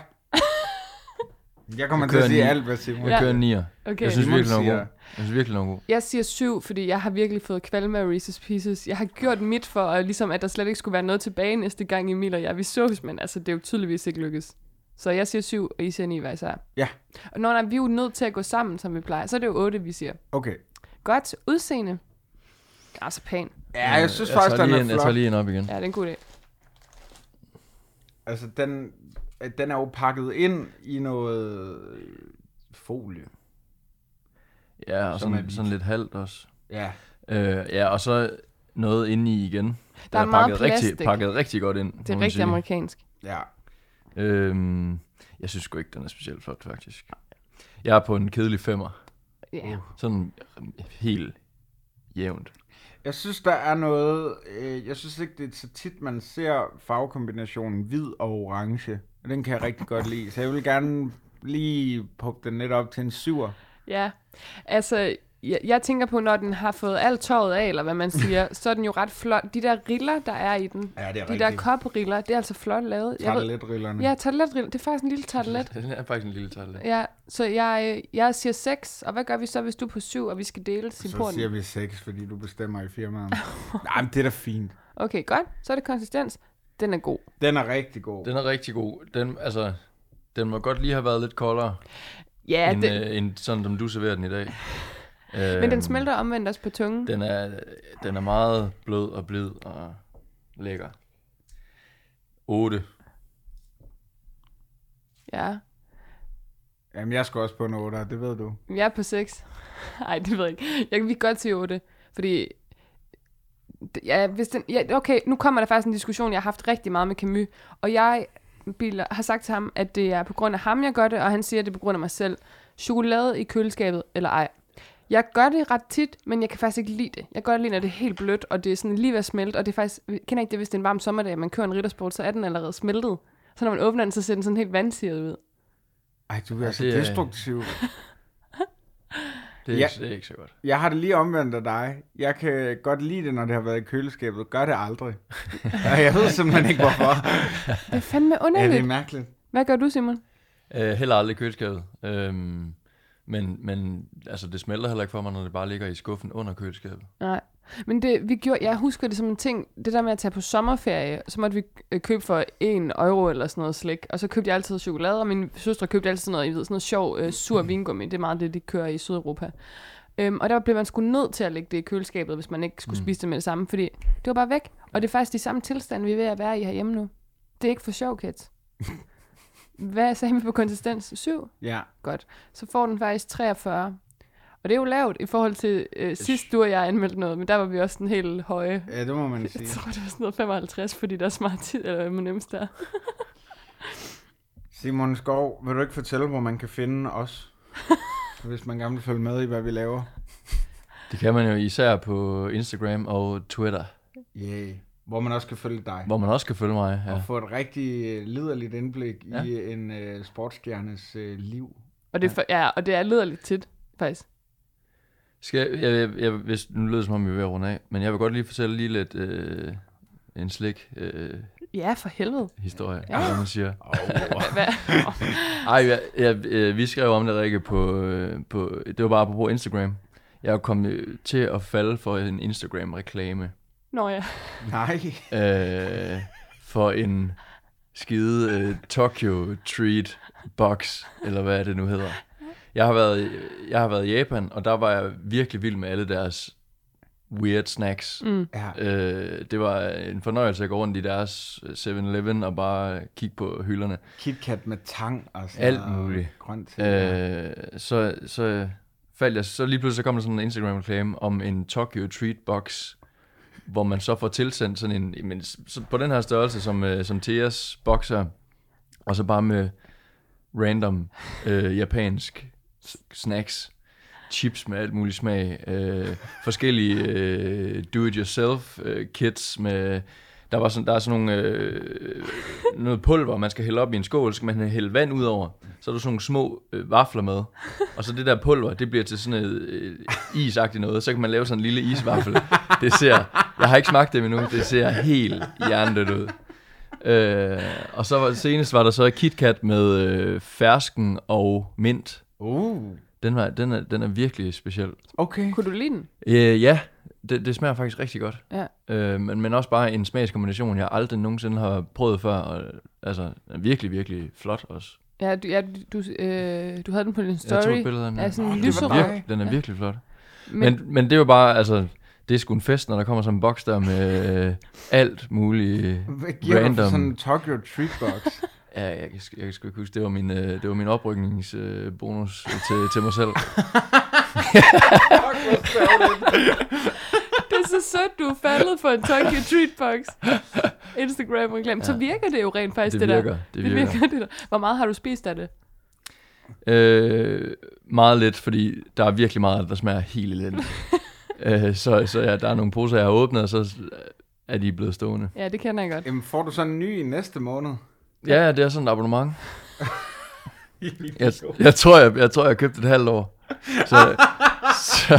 S2: Jeg kommer
S6: Så
S2: til at
S6: kører
S2: sige
S6: ni.
S2: alt, hvad Simon
S6: Jeg
S1: Ja.
S6: kører en 9'er.
S1: Okay.
S6: Jeg synes
S2: Simon
S6: virkelig, den var
S2: siger-
S6: god. Jeg synes virkelig, den var god.
S1: Jeg siger syv, fordi jeg har virkelig fået kvalme af Reese's Pieces. Jeg har gjort mit for, at, ligesom, at der slet ikke skulle være noget tilbage næste gang, Emil og jeg vi sås, men altså, det er jo tydeligvis ikke lykkedes. Så jeg siger syv, og I siger ni, hvad især.
S2: Ja.
S1: Og når vi er jo nødt til at gå sammen, som vi plejer, så er det jo otte, vi siger.
S2: Okay.
S1: Godt udseende. Altså pæn.
S2: Ja, jeg synes
S6: jeg
S2: faktisk,
S6: tager
S2: den
S6: lige
S2: er
S6: en, Jeg
S2: flot.
S6: tager lige en op igen.
S1: Ja, det er en god dag.
S2: Altså, den, øh, den er jo pakket ind i noget øh, folie.
S6: Ja, og
S2: Som er
S6: sådan,
S2: hvid.
S6: sådan lidt halvt også.
S2: Ja.
S6: Øh, ja, ja, og så noget inde i igen. Den
S1: er meget
S6: pakket
S1: plastik.
S6: rigtig, pakket rigtig godt ind,
S1: Det er rigtig amerikansk.
S2: Ja.
S6: Øhm, jeg synes sgu ikke, den er specielt flot, faktisk. Jeg er på en kedelig femmer. Uh.
S1: Ja.
S2: Uh.
S6: Sådan øh, helt jævnt.
S2: Jeg synes, der er noget... Øh, jeg synes ikke, det er så tit, man ser farvekombinationen hvid og orange. Og Den kan jeg rigtig godt lide. Så jeg vil gerne lige pukke den lidt op til en syver.
S1: Ja, altså, jeg, jeg tænker på, når den har fået alt tøjet af, eller hvad man siger, så er den jo ret flot. De der riller, der er i den,
S2: Ja, det er
S1: de der kopriller, det er altså flot lavet. Jeg ved-
S2: Tartelet-rillerne.
S1: Ja, tarteletriller. Det er faktisk en lille tartelet.
S6: Den er faktisk en lille tal.
S1: Ja, så jeg, øh, jeg siger 6, og hvad gør vi så, hvis du er på 7, og vi skal dele til
S2: Så siger
S1: porten?
S2: vi seks, fordi du bestemmer i firmaet. Nej, men det er da fint.
S1: Okay, godt. Så er det konsistens. Den er god.
S2: Den er rigtig god.
S6: Den er rigtig god. Den, altså, den må godt lige have været lidt koldere,
S1: Ja,
S6: ja,
S1: den,
S6: end, øh, end sådan, som du serverer den i dag.
S2: øh,
S6: øhm,
S1: men den smelter omvendt også på tungen.
S6: Den er, den er meget blød og blid og lækker. 8.
S1: Ja.
S2: Jamen, jeg skal også på en 8, det ved du.
S1: Jeg er på 6. Nej, det ved jeg ikke. Jeg kan virkelig godt sige 8, fordi... det- Ja, hvis den, ja, okay, nu kommer der faktisk en diskussion, jeg har haft rigtig meget med Camus, og jeg biler, har sagt til ham, at det er på grund af ham, jeg gør det, og han siger, at det er på grund af mig selv. Chokolade i køleskabet, eller ej. Jeg gør det ret tit, men jeg kan faktisk ikke lide det. Jeg gør det lige, når det er helt blødt, og det er sådan lige ved at smelte, og det er faktisk, kender I ikke det, hvis det er en varm sommerdag, og man kører en riddersport, så er den allerede smeltet. Så når man åbner den, så ser den sådan helt vandsiret ud.
S2: Ej, du er altså
S6: det er-
S2: destruktiv.
S6: Det er,
S2: Ja.
S6: ikke, det er ikke så godt.
S2: Jeg har det lige omvendt af dig. Jeg kan godt lide det, når det har været i køleskabet. Gør det aldrig. Og jeg ved simpelthen ikke, hvorfor.
S1: Det er fandme
S2: Ja, det er
S1: underligt.
S2: mærkeligt.
S1: Hvad gør du, Simon?
S6: Øh, heller aldrig i køleskabet. Øhm, men, men altså, det smelter heller ikke for mig, når det bare ligger i skuffen under køleskabet.
S1: Nej. Men det, vi gjorde, jeg husker det som en ting, det der med at tage på sommerferie, så måtte vi øh, købe for 1 euro eller sådan noget slik, og så købte jeg altid chokolade, og min søstre købte altid sådan noget, I ved, sådan noget sjov øh, sur vingummi, det er meget det, de kører i Sydeuropa. Øhm, og der blev man sgu nødt til at lægge det i køleskabet, hvis man ikke skulle spise det med det samme, fordi det var bare væk, og det er faktisk de samme tilstande, vi er ved at være i herhjemme nu. Det er ikke for sjov, kids. Hvad sagde vi på konsistens? 7?
S2: Ja.
S1: Godt. Så får den faktisk 43. Og det er jo lavt i forhold til øh, sidst, du og jeg anmeldte noget, men der var vi også den helt høje.
S2: ja, det må man
S1: Jeg
S2: sige.
S1: tror, det var sådan noget 55, fordi der er smart tid, eller man nemmest der.
S2: Simon Skov, vil du ikke fortælle, hvor man kan finde os? Hvis man gerne vil følge med i, hvad vi laver.
S6: Det kan man jo især på Instagram og Twitter,
S2: Yeah. Hvor man også kan følge dig.
S6: hvor man også kan følge mig.
S2: Og
S6: Ja.
S2: få et rigtig øh, liderligt indblik ja.
S6: Ja.
S2: i en øh, sportsstjernes øh, liv.
S1: Og det, er for, ja, og det er lederligt tit, faktisk.
S6: Skal jeg, jeg, jeg, hvis, nu lyder det som om, vi er ved at runde af, men jeg vil godt lige fortælle lige lidt øh, en slik øh,
S1: Ja, for helvede.
S6: historie, ja. som man siger.
S1: Hvad?
S6: Ej, jeg, jeg, øh, vi skrev om det, Rikke, på, øh, på, det var bare på Instagram. Jeg er kommet øh, til at falde for en Instagram-reklame.
S1: Nå ja.
S2: Nej.
S6: øh, for en skide øh, Tokyo Treat Box, eller hvad det nu hedder. Jeg har, været, jeg har været i Japan, og der var jeg virkelig vild med alle deres weird snacks. Mm.
S2: Ja.
S6: Øh, det var en fornøjelse at gå rundt i deres 7-Eleven og bare kigge på hylderne.
S2: KitKat med tang og sådan
S6: Alt
S2: noget, og
S6: muligt.
S2: Grønt til. Øh.
S6: Øh, så, så faldt jeg, så lige pludselig så kom der sådan en Instagram-reklame om en Tokyo Treat Box, hvor man så får tilsendt sådan en, men, så, på den her størrelse som, øh, som Theas bokser, og så bare med random øh, japansk s- snacks, chips med alt muligt smag, øh, forskellige øh, do-it-yourself øh, kits med, der, var sådan, der er sådan nogle, øh, noget pulver, man skal hælde op i en skål, så skal man hælde vand ud over, så er der sådan nogle små øh, vafler med, og så det der pulver, det bliver til sådan noget øh, isagtigt noget, så kan man lave sådan en lille isvaffel. Det ser, jeg har ikke smagt det endnu, det ser helt hjernedødt ud. Øh, og så var, senest var der så KitKat med øh, fersken og mint.
S2: Uh.
S6: Den, var, den, er, den er virkelig speciel.
S2: Okay.
S1: Kunne du lide den?
S6: Øh, ja, det, det smager faktisk rigtig godt.
S1: Ja.
S6: Øh, men, men også bare en smagskombination, jeg aldrig nogensinde har prøvet før. Og, altså, den er virkelig, virkelig flot også.
S1: Ja, du, ja, du, øh, du havde den på din story.
S6: Jeg tog et billede af den.
S1: af sådan en
S2: Nå, det var
S1: lyserød.
S2: dig.
S6: Virk, den er
S1: Ja.
S6: virkelig flot.
S1: Men,
S6: Men, men det er jo bare, altså, det er sgu en fest, når der kommer sådan en boks der med øh, alt muligt
S2: Hvad giver Random. du for
S6: random.
S2: sådan en Tokyo Treat Box?
S6: Ja, jeg, kan, sk- jeg kan sgu ikke huske, det var min, øh, det var min oprykningsbonus øh, bonus til, til mig selv.
S1: det er så sødt, du er faldet for en Tokyo Treat Box. Instagram-reklame. Ja. Så virker det jo rent faktisk, det,
S6: Det virker,
S1: der.
S6: det
S1: det
S6: virker.
S1: virker. Det der. Hvor meget har du spist af det?
S6: Øh, meget lidt, fordi der er virkelig meget, af det, der smager helt elendigt. øh, så så ja, der er nogle poser, jeg har åbnet, og så er de blevet stående.
S1: Ja, det kender jeg godt.
S2: Jamen, får du sådan en ny i næste måned?
S6: Ja, ja, det er sådan et abonnement. Jeg, jeg, tror, jeg, jeg tror, jeg købte et halvt år. Så, så,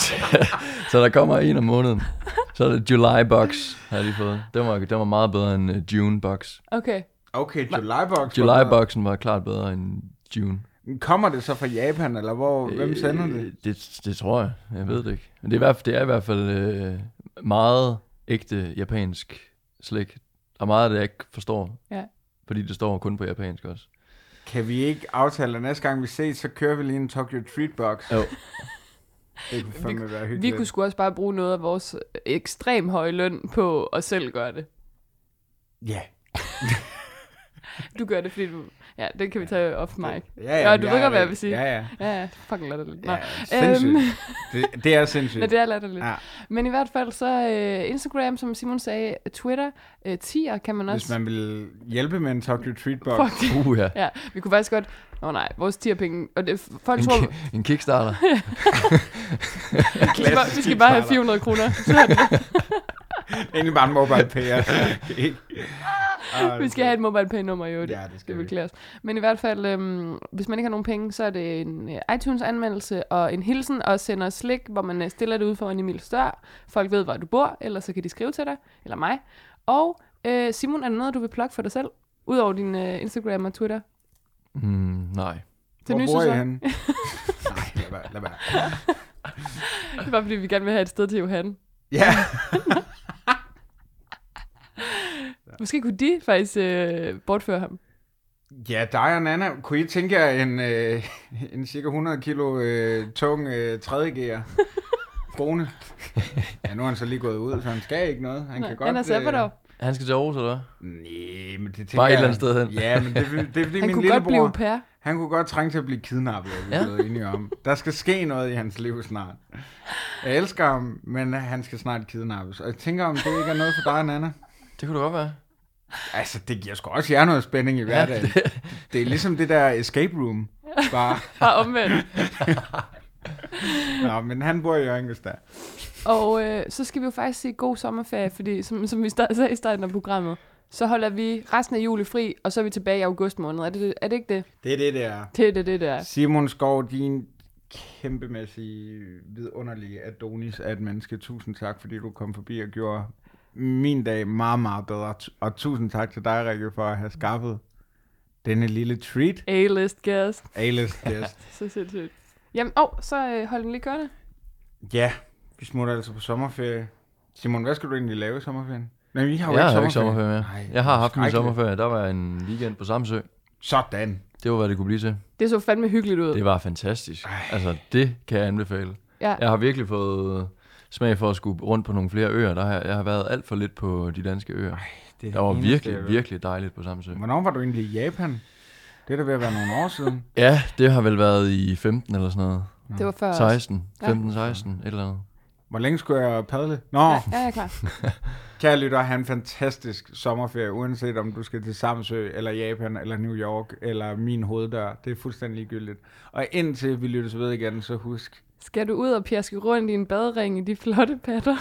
S6: så, så der kommer en om måneden. Så er det July Box, har jeg lige fået. Den var, den var meget bedre end øh, June Box.
S1: Okay.
S2: Okay, July Box.
S6: July
S2: Hvor-
S6: Boxen var klart bedre end June.
S2: Kommer det så fra Japan, eller hvor, hvem sender det?
S6: Øh, det? Det tror jeg. Jeg ved det ikke. Men det er i hvert fald, det er i hvert fald øh, meget ægte japansk slik. Der er meget af det, jeg ikke forstår.
S1: Ja.
S6: Fordi det står kun på japansk også.
S2: Kan vi ikke aftale, at næste gang vi ses, så kører vi lige en Tokyo Treat Box?
S6: Jo.
S2: Det kunne fandme være
S1: Vi
S2: hyggeligt.
S1: kunne sgu også bare bruge noget af vores øh, ekstrem høje løn på at selv gøre det.
S2: Ja.
S1: Du gør det, fordi du... Ja, det kan vi tage off mic.
S2: Ja,
S1: ja,
S2: men
S1: du
S2: jeg
S1: ved godt,
S2: er
S1: hvad
S2: væk.
S1: jeg vil sige.
S2: Ja, ja.
S1: Ja, ja, fucking latterligt. Nå.
S2: ja sindssygt.
S1: øhm,
S2: det, det er sindssygt.
S1: Nå, det er latterligt.
S2: Ja.
S1: Men i hvert fald så øh, Instagram, som Simon sagde, Twitter, øh, 10'er kan man
S2: Hvis
S1: også...
S2: man vil hjælpe med en Tokyo Treat Box.
S1: Fuck.
S6: Uh, ja.
S1: Ja, vi kunne faktisk godt... Nå nej, vores 10'er penge... Og det, folk
S6: En,
S1: tror,
S6: ki- en kickstarter.
S1: vi, skal bare, vi skal bare have 400 kroner. Så er det-
S2: Egentlig bare en mobile pay. altså.
S1: vi skal have et mobile pay nummer i øvrigt.
S2: Ja, det skal
S1: det
S2: vi.
S1: beklager os. Men i hvert fald, øhm, hvis man ikke har nogen penge, så er det en øh, iTunes-anmeldelse og en hilsen og sender slik, hvor man øh, stiller det ud foran Emils dør. Folk ved, hvor du bor, eller så kan de skrive til dig, eller mig. Og øh, Simon, er der noget, du vil plukke for dig selv? Udover din øh, Instagram og Twitter.
S6: Mm, nej.
S1: Til
S2: Hvor
S1: nye
S2: bor I
S1: sæson.
S2: henne? Nej, lad være, lad være.
S1: Det var, fordi vi gerne vil have et sted til Johan.
S2: Ja,
S1: Måske kunne de faktisk øh, bortføre ham.
S2: ja dig og Nana, kunne I tænke jer en, øh, en cirka 100 kilo øh, tung øh, 3G'er? Kone. Ja, nu er han så lige gået ud, så han skal ikke noget. Han
S1: Nej,
S2: kan godt... øh,
S1: han er sabbatår.
S6: Han skal til Aarhus, eller hvad?
S2: Nej, men det tænker
S6: Bare et
S2: jeg-
S6: eller andet sted hen.
S2: Ja, men det, er- det er fordi
S1: Han kunne
S2: min
S1: godt
S2: lillebror...
S1: blive au pair.
S2: Han kunne godt trænge til at blive kidnappet, er vi
S6: Ja.
S2: ja. blevet enige om. Der skal ske noget i hans liv snart. Jeg elsker ham, men han skal snart kidnappes. Og jeg tænker, om det ikke er noget for dig, Nana?
S6: Det kunne det godt være.
S2: Altså, det giver sgu også jer noget spænding i hverdagen. Ja, det... det er ligesom det der escape room. Bare,
S1: Bare omvendt.
S2: nå, men han bor i Jørgen, hvis der.
S1: Og øh, så skal vi jo faktisk sige god sommerferie, fordi som, som vi start, sagde i starten af programmet, så holder vi resten af juli fri, og så er vi tilbage i august måned. Er det, er det ikke det?
S2: Det er det, det er.
S1: Det er det, det der.
S2: Simon Skov, din kæmpemæssige, vidunderlige Adonis af et menneske. Tusind tak, fordi du kom forbi og gjorde min dag meget, meget bedre. Tu- Og tusind tak til dig, Rikke, for at have skaffet denne lille treat.
S1: A-list gas.
S2: A-list guest.
S1: Så sindssygt. Jamen, åh, oh, så øh, hold den lige kørende.
S2: ja, vi smutter altså på sommerferie. Simon, hvad skal du egentlig lave i sommerferien? Nej, vi har jo
S6: Jeg
S2: ikke
S6: har
S2: sommerferie.
S6: jo ikke sommerferie mere.
S2: Nej,
S6: jeg har haft min
S2: skrækkeligt.
S6: sommerferie. Der var en weekend på Samsø.
S2: Sådan.
S6: Det var, hvad det kunne blive til.
S1: Det så fandme hyggeligt ud.
S6: Det var fantastisk. Altså, det kan jeg anbefale.
S1: Ja.
S6: Jeg har virkelig fået smag for at skulle rundt på nogle flere øer. Der har, jeg har været alt for lidt på de danske øer.
S2: Det
S6: Der var virkelig, virkelig dejligt på Samsø.
S2: Hvornår var du egentlig i Japan? Det er da ved at være nogle år siden.
S6: Ja, det har vel været i 15 eller sådan noget.
S1: det var før. os.
S6: 16.
S1: Ja.
S6: 15-16, et eller andet.
S2: Hvor længe skulle jeg padle? Nå,
S1: Ja, ja, klar.
S2: Kære lytter, have en fantastisk sommerferie, uanset om du skal til Samsø, eller Japan, eller New York, eller min hoveddør. Det er fuldstændig ligegyldigt. Og indtil vi lyttes ved igen, så husk,
S1: Skal du ud og pjaske rundt i en badering i de flotte patter?